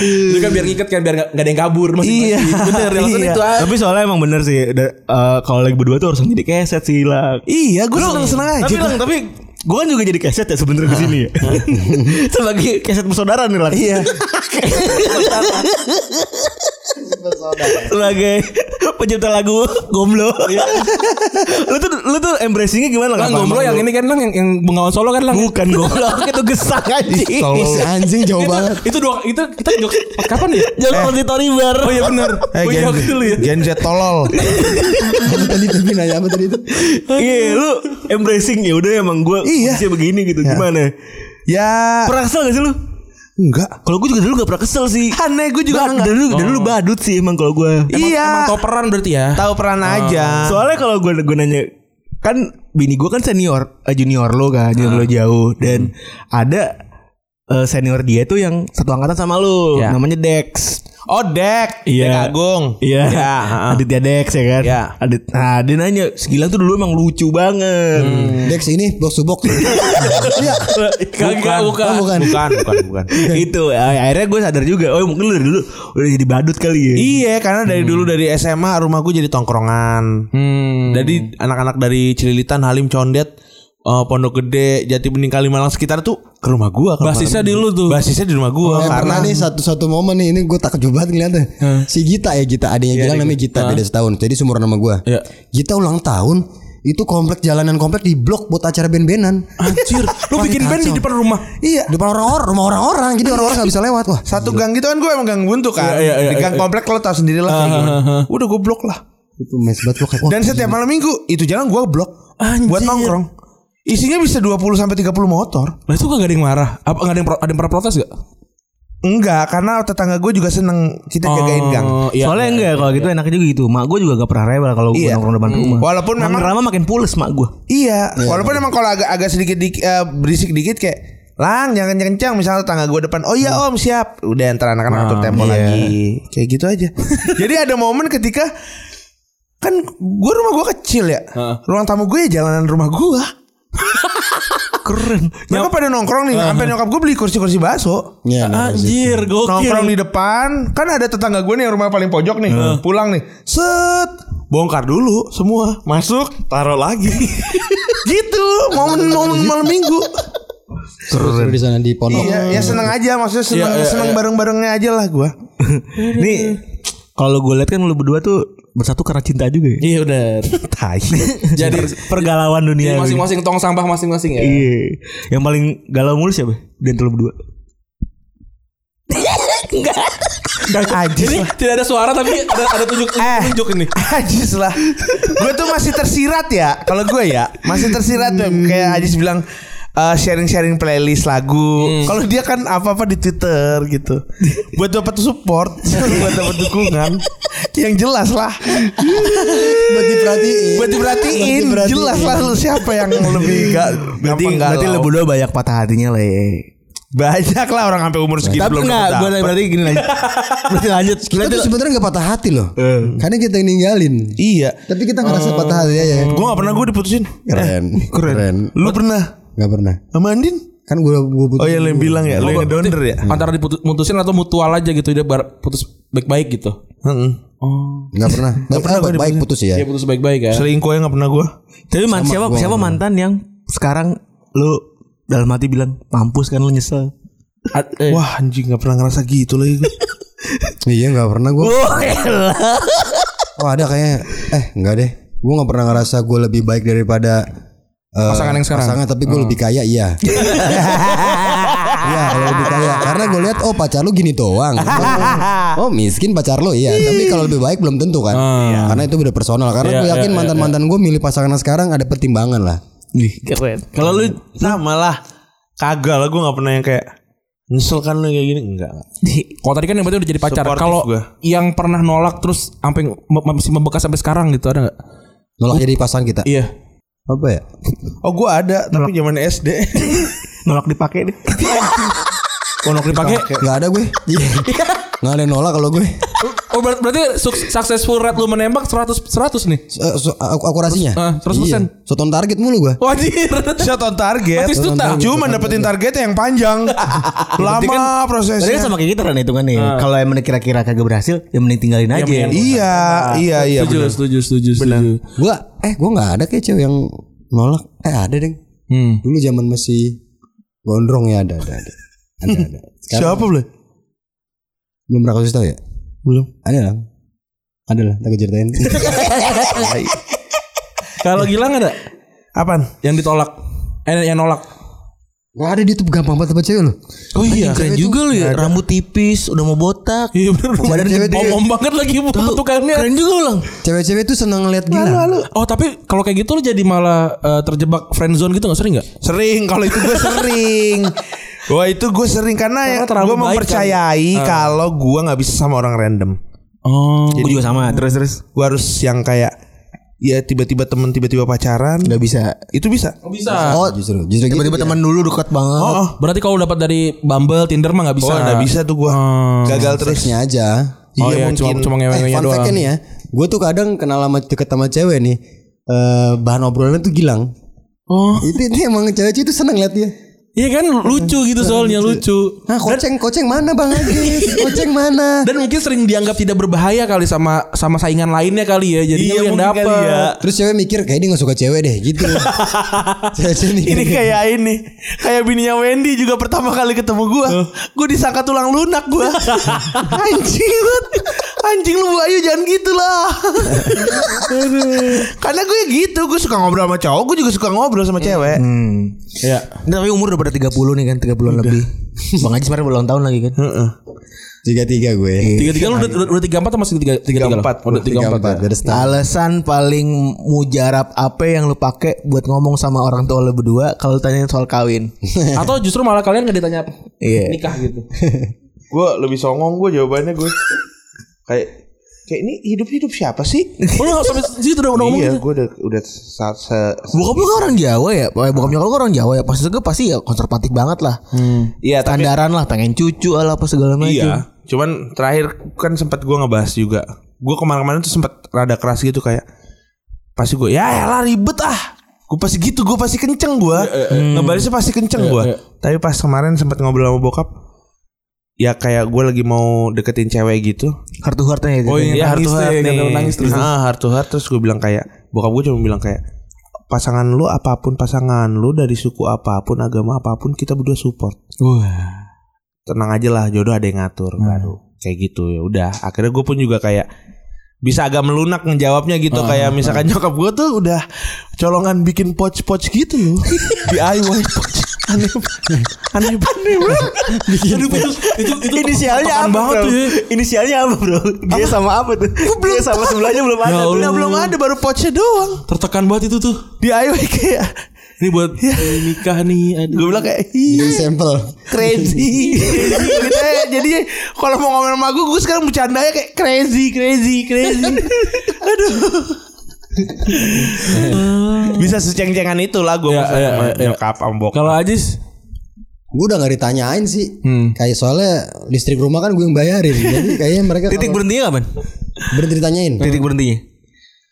S2: Itu kan biar ngikat kan biar gak, ada yang kabur
S6: Iya.
S5: Iya.
S2: masing-masing. Bener, alasan itu aja.
S6: tapi soalnya emang bener sih da- eh, kalau lagi berdua tuh harus jadi keset sih lah
S5: Iya, gue seneng seneng aja.
S6: tapi lang tapi gue kan juga jadi keset ya sebenernya di sini ya sebagai keset bersaudara nih lang iya sebagai pencipta lagu gomblo lu tuh lu tuh embracingnya gimana
S2: Lang
S6: Apa-
S2: gomblo yang ini kan lang yang, yang bengawan Solo kan lang.
S6: bukan gomblo itu gesang anjing
S4: Ih, si anjing jauh banget
S2: Itu dua itu kita jokes kapan ya?
S6: jangan di Tori Bar
S2: Oh iya benar.
S6: Eh,
S2: Oh iya waktu dulu ya.
S5: Gen Z tolol.
S4: Apa tadi tapi nanya apa tadi itu
S6: iya lu embracing ya udah emang gue iya. begini gitu gimana
S5: ya
S6: pernah kesel gak sih lu
S5: enggak.
S6: Kalau gue juga dulu gak pernah kesel sih.
S5: Aneh gue juga
S6: Ba-
S5: enggak.
S6: dari dulu, dari dulu badut sih emang kalau gue.
S5: iya.
S2: Emang toperan berarti ya.
S5: tahu peran aja.
S6: Soalnya kalau gue gue nanya kan bini gue kan senior eh, junior lo
S5: Ah.
S6: kan junior lo jauh dan
S5: Hmm.
S6: ada eh, senior dia tuh yang satu angkatan sama lo
S2: Ya.
S6: namanya Dex.
S5: Oh Dek, Dek
S6: Iya.
S5: Agung.
S6: Iya.
S5: Ya, heeh.
S6: Aditya Dex ya kan.
S5: Iya.
S6: Adit, nah dia nanya segilan tuh dulu emang lucu banget.
S5: Hmm.
S4: Dex ini box to box iya
S2: Kagak bukan.
S4: oh, bukan
S5: Bukan, bukan, bukan.
S6: Itu eh, akhirnya gue sadar juga. Oh mungkin lu dari dulu udah jadi badut kali ya.
S5: Iya, karena dari dulu dari SMA rumah gue jadi tongkrongan.
S2: Hmm.
S5: Jadi anak-anak dari Cililitan, Halim, Condet, eh, Pondok Gede, Jati Bening, Kalimalang sekitar tuh ke rumah gua. kalau
S2: Basisnya
S5: malam.
S2: di lu tuh.
S5: Basisnya di rumah gua
S4: Eh,
S5: karena
S4: pernah nih satu-satu momen nih ini gue takjub banget ngeliatnya si Gita ya Gita adanya Gilang namanya Gita beda setahun jadi sumur nama gue
S2: Iya.
S4: Gita ulang tahun itu komplek jalanan komplek di blok buat acara ben-benan
S2: Anjir, lu bikin band di depan rumah.
S4: Iya. Depan orang-orang, rumah orang-orang. Jadi orang-orang gak bisa lewat. Wah,
S5: satu gang gitu kan gue emang gang buntu
S2: Iya,
S5: kan.
S2: iya, iya,
S5: di
S2: iya.
S5: gang komplek lo tau sendiri lah. kayak gimana. Udah gue blok lah.
S4: itu mes banget gua kayak. Wah,
S5: Dan setiap malam minggu itu jalan gua blok buat nongkrong. Isinya bisa 20 sampai 30 motor.
S2: Lah itu kagak ada yang marah. Apa enggak ada yang pro- ada yang pernah protes gak?
S5: Enggak, karena tetangga gue juga seneng kita jagain gang.
S2: Oh, iya.
S6: Soalnya enggak kalau gitu enaknya juga gitu. Mak gue juga gak pernah rewel kalau gue
S5: Iya.
S6: nongkrong depan rumah.
S5: Walaupun
S6: Makin
S5: memang-
S6: lama makin pules mak gue.
S5: Iya, walaupun emang kalau agak agak sedikit dik- eh, berisik dikit kayak Lang jangan kencang misalnya tetangga gue depan. Oh iya om siap. Udah ntar anak-anak atur tempo lagi. Kayak gitu aja. Jadi ada momen ketika kan gue rumah gue kecil ya. Ruang tamu gue ya jalanan rumah gue.
S6: Keren.
S5: Mereka pada nongkrong nih, sampai nyokap gue beli kursi-kursi bakso.
S4: Iya, bener sih.
S2: Anjir,
S5: Nongkrong di
S2: gokil.
S5: depan, kan ada tetangga gue nih yang rumah paling pojok nih, pulang nih. Set, bongkar dulu semua, masuk, taruh lagi. gitu, momen-momen malam Minggu.
S4: Seru-seru di sana di pondok.
S5: Iya, ya seneng aja maksudnya seneng seneng bareng-barengnya aja lah gue.
S6: Nih kalau gue lihat kan lu berdua tuh bersatu karena cinta juga ya.
S2: Iya udah.
S6: Tai.
S2: Jadi
S6: Pergalauan
S2: Jadi
S6: dunia. ini.
S2: masing-masing tong sampah masing-masing ya.
S6: Iya. Yang paling galau mulu siapa? Dan lu berdua.
S5: Ajis
S2: Ini
S5: Eh,
S2: tidak ada suara tapi ada ada tunjuk tunjuk ini.
S5: Ajis lah. Gue tuh masih tersirat ya. Kalau gue ya masih tersirat Beb. kayak Ajis bilang eh, sharing-sharing playlist lagu. Kalau dia kan apa-apa di Twitter gitu. Buat dapat support, buat dapat dukungan yang jelas lah.
S4: Buat
S5: Buat
S4: diperhatiin.
S5: diperhatiin,
S4: Buat diperhatiin.
S5: jelas lah lu siapa yang lebih gak
S6: Berarti
S5: gampang
S6: berarti lu
S5: galau.
S6: berdua banyak patah hatinya lah ya.
S5: Banyak lah orang sampai umur segitu
S6: Tapi
S5: belum
S6: enggak,
S5: dapet.
S6: gue berarti gini lanjut. berarti lanjut.
S4: Kita tuh sebenarnya gak patah hati loh.
S2: Eh.
S4: Karena kita yang ninggalin.
S5: Iya.
S4: Tapi kita ngerasa patah hati aja. ya.
S2: Eh.
S5: Gue gak pernah gue diputusin.
S4: Keren. Keren.
S5: Lu pernah
S4: Gak pernah.
S5: sama Andin?
S4: Kan gue gue putus.
S5: Oh ya lu yang bilang ya, lu yang ngedonder ya.
S2: Antara diputusin atau mutual aja gitu dia bar- putus baik-baik gitu.
S4: Gak pernah. Baik,
S5: pernah
S4: ah,
S5: gua
S4: baik putus ya.
S2: Dia
S5: Eh.
S2: putus baik-baik ya.
S5: Selingkuh yang gak pernah gue.
S6: Tapi man, siapa siapa mantan yang sekarang lu dalam hati bilang mampus kan lu nyesel.
S2: Ad- eh,
S5: Wah anjing gak pernah ngerasa gitu lagi gue.
S4: Iya gak pernah gue. Oh ada kayaknya. Eh gak deh. Gue gak pernah ngerasa gue lebih baik daripada eh,
S2: Pasangan yang sekarang?
S4: Pasangan tapi gue lebih kaya iya. Iya kalau lebih kaya Karena gue lihat Oh pacar lu gini doang Oh miskin pacar lu Iya Tapi kalau lebih baik Belum tentu kan Karena itu udah personal Karena gue yakin mantan-mantan gue Milih pasangan sekarang Ada pertimbangan lah
S5: Kalau lu sama lah. Kagak lah gue gak pernah yang kayak nyesel kan lu kayak gini enggak.
S2: Kalau tadi kan yang berarti udah jadi pacar.
S5: Supportive
S2: Kalau
S5: gua.
S2: yang pernah nolak terus sampai nge- me- masih membekas sampai sekarang gitu ada nggak?
S4: Nolak jadi pasangan kita
S2: Iya.
S4: Apa ya
S5: Oh gue ada tapi zaman SD.
S6: Nolak dipakai deh.
S2: Kalau dipakai.
S4: Gak ada gue Gak ada yang nolak kalau gue
S2: Oh ber- berarti suk- successful rate lu menembak 100 100 nih.
S4: Eh, so- aku- Akurasinya
S2: Eh, 100%.
S4: Iya. So, tahun target mulu gue
S2: Wajir.
S5: Shot on target.
S2: Berarti itu tak.
S5: Cuma dapetin targetnya yang panjang. Lama
S6: Tadi kan
S5: prosesnya.
S6: sama kayak gitu kan hitungannya. ya. Kalau emang kira-kira kagak berhasil, ya mending tinggalin aja.
S5: Iya, iya, iya.
S2: Setuju,
S5: bener.
S2: setuju, setuju, setuju.
S4: Gue Eh gue gak ada kayak cewek yang Nolak Eh ada deh
S2: Hmm.
S4: Dulu zaman masih Gondrong ya ada Ada ada, ada, ada. Sekarang
S5: Siapa boleh?
S4: Belum pernah kasih tau ya? Belum. Ada lah. Ada lah, tak ceritain.
S2: Kalau Gilang ada
S5: Apaan?
S2: yang ditolak. Eh yang nolak.
S4: Gak ada dia tuh gampang banget sama cewek loh.
S6: Oh iya, keren juga lu ya. Rambut tipis, udah mau botak.
S2: Iya bener Badan
S4: cewek tuh-
S2: Omong banget lagi bu- tukangnya
S6: Keren juga lu, Lang.
S4: Cewek-cewek tuh senang ngeliat gila.
S2: Oh tapi kalau kayak gitu lu jadi malah eh, terjebak friend zone gitu gak sering gak?
S5: Sering kalau itu gue sering. Wah itu gue sering karena
S2: Karena
S5: ya
S2: terlalu
S5: gue
S2: baik
S5: mempercayai kalau gue nggak bisa sama orang random.
S2: Oh
S6: Gue juga sama. Terus terus
S5: Gue harus yang kayak ya tiba-tiba temen tiba-tiba pacaran.
S6: nggak bisa.
S5: Itu bisa.
S2: bisa
S4: Oh, justru justru
S6: Tiba-tiba
S4: gitu.
S6: teman dulu dekat banget.
S2: Berarti kalau dapat dari Bumble, Tinder mah gak bisa
S5: Oh, nggak bisa tuh Ah. gue gagal terus.
S4: Seksnya aja.
S2: Oh iya, cuma, cuma
S4: Eh,
S2: ngewe-ngewe
S4: fun fact
S2: doang
S4: nih ya. Gue tuh kadang kenal sama deket sama cewek nih. Eh bahan obrolannya tuh gilang.
S2: Oh
S4: Itu, itu emang cewek-cewek tuh seneng liat dia.
S2: Iya kan lucu gitu soalnya lucu
S4: Nah, koceng, koceng mana Bang Agis? koceng mana?
S2: Dan mungkin sering dianggap tidak berbahaya kali sama sama saingan lainnya kali ya Jadi
S5: Iya,
S2: yang
S5: mungkin
S2: dapet
S5: kali ya.
S4: Terus cewek mikir kayak dia gak suka cewek deh gitu. cewek-cewek mikir
S5: Ini
S4: gitu.
S5: kayak ini Kayak bininya Wendy juga pertama kali ketemu gue Gue disangka tulang lunak gue Anjing lu- Anjing lu Bu Ayu jangan gitu lah Karena gue gitu Gue suka ngobrol sama cowok Gue juga suka ngobrol sama cewek
S6: Nah, tapi umur udah pada 30 nih kan, 30-an lebih. Bang Haji sebenarnya ulang tahun lagi kan.
S4: tiga-tiga gue.
S2: Tiga tiga lu udah udah tiga empat atau masih tiga tiga tiga empat udah tiga empat ya?
S4: Beres tahun.
S6: Alasan paling mujarab apa yang lu pakai buat ngomong sama orang tua lu berdua kalau tanyain soal kawin?
S2: atau justru malah kalian nggak ditanya
S6: Iya.
S2: nikah gitu
S5: Gue lebih songong gue jawabannya gue Kayak Kayak ini hidup-hidup siapa sih?
S2: Oh, lu sampai situ udah udah ngomong
S5: iya,
S2: gitu.
S5: gue udah udah sa- se-
S6: Bokap lu kan orang Jawa ya, Eh, bokap nyokap lu kan orang Jawa ya. Pasti gue pasti ya konservatif banget lah.
S8: Hmm.
S5: Iya, tapi-
S6: Standaran lah, pengen cucu lah apa segala macam.
S5: Iya. Cuman terakhir kan sempat gue ngebahas juga. Gue kemana-mana tuh sempat rada keras gitu kayak pasti gue ya lah ribet ah. Gue Gue pasti gitu, gue pasti kenceng gue. Ngebalasnya pasti kenceng gue. Tapi pas kemarin sempat ngobrol sama bokap, ya kayak gue lagi mau deketin cewek gitu.
S6: Heart to heartnya ya.
S2: Oh iya, nangis
S5: Iya, heart to
S2: tuh
S5: heart
S2: ya,
S5: nih.
S2: nggak nangis terus.
S5: Nah, heart to heart terus gue bilang kayak bokap gue cuma bilang kayak pasangan lu apapun pasangan lu dari suku apapun agama apapun kita berdua support. Tenang aja lah jodoh ada yang ngatur
S2: Hmm.
S5: baru kayak gitu ya udah akhirnya gue pun juga kayak bisa agak melunak menjawabnya gitu
S2: Hmm,
S5: kayak misalkan nyokap gue tuh udah colongan bikin pouch-pouch gitu loh DIY pouch aneh aneh aneh
S2: Aduh, itu itu itu
S6: Inisialnya apa
S2: patokan banget
S6: bro?
S2: tuh ya.
S6: Inisialnya apa bro? Dia sama apa tuh? Dia sama sebelahnya belum ada.
S2: Ya
S6: Belum
S2: Allah.
S6: belum ada baru pouchnya doang.
S2: Tertekan banget itu tuh.
S6: DIY kayak
S2: Ini buat
S6: Iya.
S2: eh, nikah nih. Aduh.
S6: gue bilang kayak
S5: Iya."
S6: "Ih,
S4: Jadi sampel.
S6: crazy.
S5: Gitu ya, jadi kalau mau ngomel sama gue, gue sekarang bercandanya kayak crazy, crazy, crazy. Aduh. Bisa seceng-cengan itu lah gue
S2: Ya,
S5: sama
S2: ya, ya, ya.
S5: nyokap sama bokap.
S2: Kalau Ajis
S4: Gue udah gak ditanyain sih. Kayak soalnya listrik rumah kan gue yang bayarin. Jadi kayaknya mereka
S8: Titik
S4: kalau-
S8: berhentinya kapan?
S4: berhenti ditanyain.
S8: Titik berhentinya.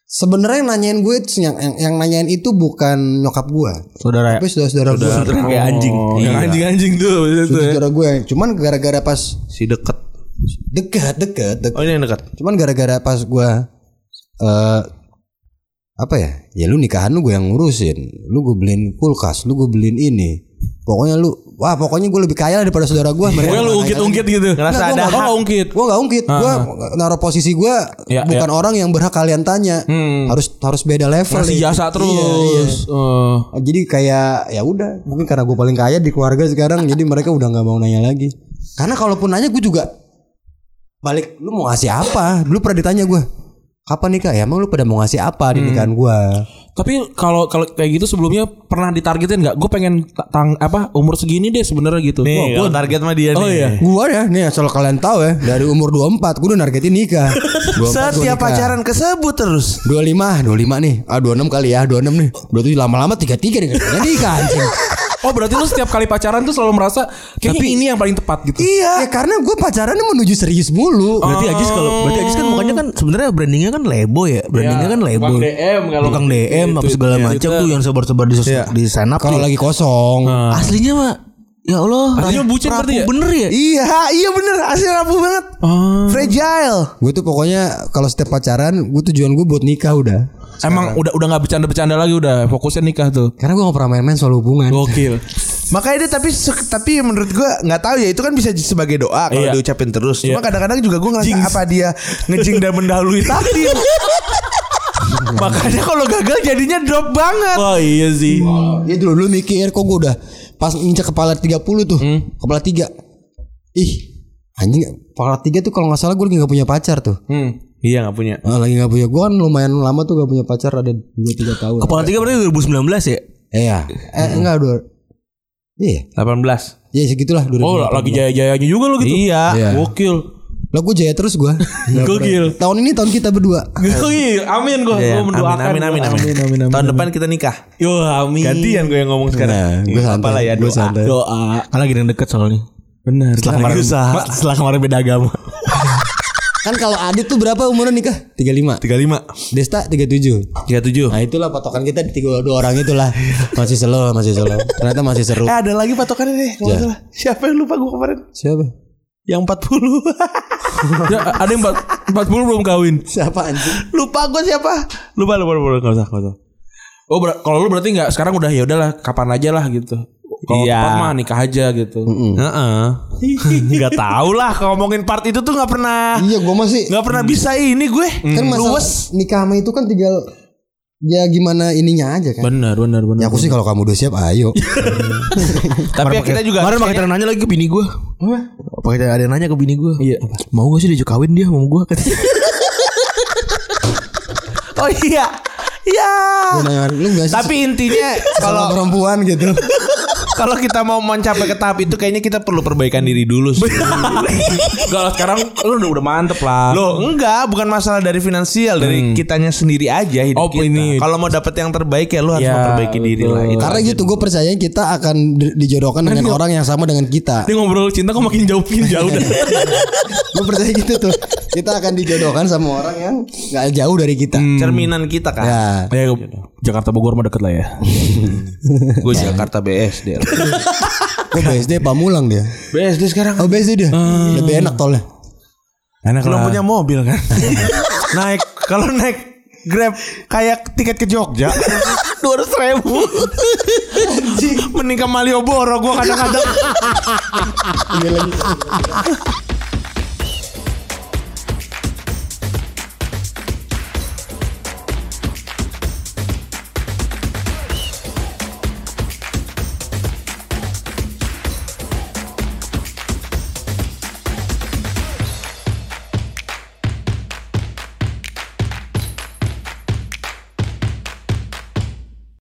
S4: Sebenarnya yang nanyain gue itu- yang, yang, yang nanyain itu bukan nyokap gue. Saudara. Tapi saudara-saudara gue.
S8: Kayak anjing.
S2: yang Oh, iya. anjing-anjing tuh abis itu ya.
S4: Saudara gue. Cuman gara-gara pas
S5: Si deket.
S4: dekat dekat dekat.
S5: Oh ini yang deket.
S4: Cuman gara-gara pas gua eh apa ya? Ya lu nikahan lu gue yang ngurusin. Lu gue beliin kulkas, lu gue beliin ini. Pokoknya lu wah pokoknya gue lebih kaya daripada saudara gua. Mereka
S2: Pokoknya Iya, lu
S4: nanya-nanya.
S2: ungkit-ungkit ah. gitu.
S5: Ngerasa
S2: Nggak,
S5: ada
S2: gua nggak-
S5: hak.
S2: Oh, ungkit.
S4: Gua nggak ungkit, gua naruh posisi gua
S2: Ya,
S4: bukan orang yang berhak kalian tanya. Harus harus beda level.
S2: Hmm. Ngasih
S4: itu.
S2: jasa
S4: Iya, iya.
S2: terus. Eh,
S4: Jadi kayak ya udah, mungkin karena gue paling kaya di keluarga sekarang, jadi mereka udah nggak mau nanya lagi. Karena kalaupun nanya gue juga balik, lu mau ngasih apa? Dulu pernah ditanya gue, kapan nikah? Ya emang lu pada mau ngasih apa
S5: Hmm.
S4: di nikahan gue?
S2: Tapi kalau kalau kayak gitu sebelumnya pernah ditargetin nggak? Gue pengen ta- tang apa umur segini deh sebenarnya gitu. Wah, gua-
S5: Nih, kalau Iya, target mah dia
S2: Oh
S5: nih.
S2: iya.
S4: Gue ya, nih asal kalian tahu ya, dari umur 24 gue udah nargetin nikah. 24 gua
S5: Setiap
S4: nikah.
S5: pacaran kesebut terus.
S4: 25, 25 nih. Ah 26 kali ya, 26 nih. Berarti lama-lama 33 nih kayaknya nikah anjing.
S2: Oh berarti lu setiap kali pacaran tuh selalu merasa kayaknya ini yang paling tepat gitu.
S4: Iya, ya, karena gue pacaran menuju
S5: Oh.
S4: serius mulu.
S8: Berarti Ajis kalau berarti Ajis kan mukanya kan sebenarnya brandingnya kan lebo ya.
S6: Iya,
S8: Brandingnya kan lebo.
S2: Tukang DM kalau-
S8: Tukang DM apa
S2: Gitu,
S8: segala
S2: iya,
S8: macam tuh yang sebar-sebar di
S6: Iya.
S8: sosmed di stand up
S4: Kalau
S8: tuh.
S4: lagi kosong.
S5: Ah.
S8: Aslinya mah ya Allah.
S2: Artinya
S8: rapuh-
S2: bucin berarti ya?
S8: rapuh bener ya?
S5: Iya, iya bener. Asli rapuh banget. Fragile.
S4: Gue tuh pokoknya kalau setiap pacaran, gue tujuan gue buat nikah udah.
S2: Emang udah udah nggak bercanda-bercanda lagi udah fokusnya nikah tuh.
S4: Karena gue gak pernah main-main soal hubungan.
S2: Gokil.
S5: Makanya dia tapi se- tapi menurut gua nggak tahu ya itu kan bisa j- sebagai doa kalau
S2: Iya.
S5: diucapin terus. Cuma kadang-kadang juga gua ngerasa apa dia ngejing dan mendahului takdir. Makanya kalau gagal jadinya drop banget.
S2: Oh iya sih.
S4: Iya dulu dulu mikir kok gue udah pas injak kepala 30 tuh.
S2: Hmm.
S4: Kepala 3. Ih, anjing kepala 3 tuh kalau nggak salah gue lagi gak punya pacar tuh.
S2: Hmm. Iya nggak punya.
S4: Ah, lagi gak punya gue kan lumayan lama tuh gak punya pacar ada 2 3 tahun.
S8: Kepala tiga berarti 2019 ya?
S4: Iya. Eh
S2: Hmm.
S4: enggak dua. Iya,
S2: 18.
S4: ya segitulah dua.
S2: Oh lagi jaya-jayanya juga lo gitu.
S4: Iya.
S2: Gokil.
S4: Lah gue jaya terus gue.
S2: Gokil.
S4: tahun ini tahun kita berdua.
S2: Gokil. Amin gue.
S5: Ya,
S2: Gue mendoakan.
S5: amin, amin, amin, amin.
S2: Iya. amin, amin, amin.
S5: Tahun depan kita nikah.
S2: Yo amin.
S5: Gantian gue yang ngomong sekarang.
S4: Nah, gue
S5: Nggak apa-apa
S4: santai,
S5: lah ya
S4: gue
S5: doa.
S4: santai.
S2: Doa. Kan
S8: Karena lagi yang deket soalnya.
S2: Benar. Nah,
S8: Setelah kemarin, Ma- setelah kemarin beda agama.
S4: Kan kalau Adit tuh berapa umurnya nikah? 35.
S5: 35
S4: Desta 37.
S5: 37.
S4: Nah itulah patokan kita di tiga dua orang itulah masih slow masih slow ternyata masih seru
S5: Eh ada lagi
S2: kan
S5: patokannya deh kalau
S4: Ya.
S5: nggak salah. Siapa yang lupa gue kemarin?
S4: siapa
S5: Yang 40.
S2: Ya, ada yang empat- 40 belum kawin.
S4: siapa anjing
S5: lupa gue siapa?
S2: Lupa lupa lupa enggak usah, enggak usah. Oh, ber- kalau lu berarti enggak sekarang udah ya udahlah kapan aja lah gitu. Kalau
S5: Iya.
S2: tepat mah nikah aja gitu.
S5: Heeh. Enggak tahu lah ngomongin part itu tuh nggak pernah
S4: iya gue masih
S5: nggak pernah bisa ini gue.
S4: kan masa
S5: Luwes.
S4: nikah sama itu kan tinggal ya gimana ininya aja kan
S2: Benar, benar, benar.
S4: ya aku sih kalau kamu udah siap ayo
S5: Tapi ya kita juga
S8: Kemarin pakai tanda nanya lagi ke bini gue. Pakai tanda- ada yang nanya ke bini gue. Iya. Mau gak sih diajak kawin dia sama gue?
S5: Oh iya. Ya.
S4: Gua nanya, lu gak sih
S5: Tapi intinya kalau
S4: kalau perempuan gitu
S5: kalau kita mau mencapai ke tahap itu kayaknya kita perlu perbaikan diri dulu sih.
S2: Enggak lah sekarang lu udah, udah mantep lah.
S5: Loh, enggak, bukan masalah dari finansial, dari kitanya sendiri aja hidup
S2: Hmm. Oh,
S5: kita.
S2: ini-
S5: Kalau mau dapet yang terbaik ya lu harus
S2: Ya,
S5: memperbaiki diri
S2: betul.
S5: lah. Itu
S4: karena
S5: aja.
S4: gitu gue percaya kita akan di- dijodohkan dengan orang yang sama dengan kita
S2: Dia ngobrol cinta kok makin jauh makin jauh dah.
S4: gue percaya gitu tuh
S5: Hmm.
S4: kita akan dijodohkan sama orang yang nggak jauh dari kita
S5: cerminan kita kan.
S4: ya
S2: ya, Jakarta Bogor mah deket lah ya.
S5: Gue Jakarta BSD.
S4: Gue BSD Pamulang dia.
S5: BSD sekarang.
S4: Oh BSD dia. Lebih enak tolnya.
S2: Enak
S5: Belum
S2: lah.
S5: punya mobil kan. naik kalau naik Grab kayak tiket ke Jogja. 200 ribu. Mending ke Malioboro gue kadang-kadang.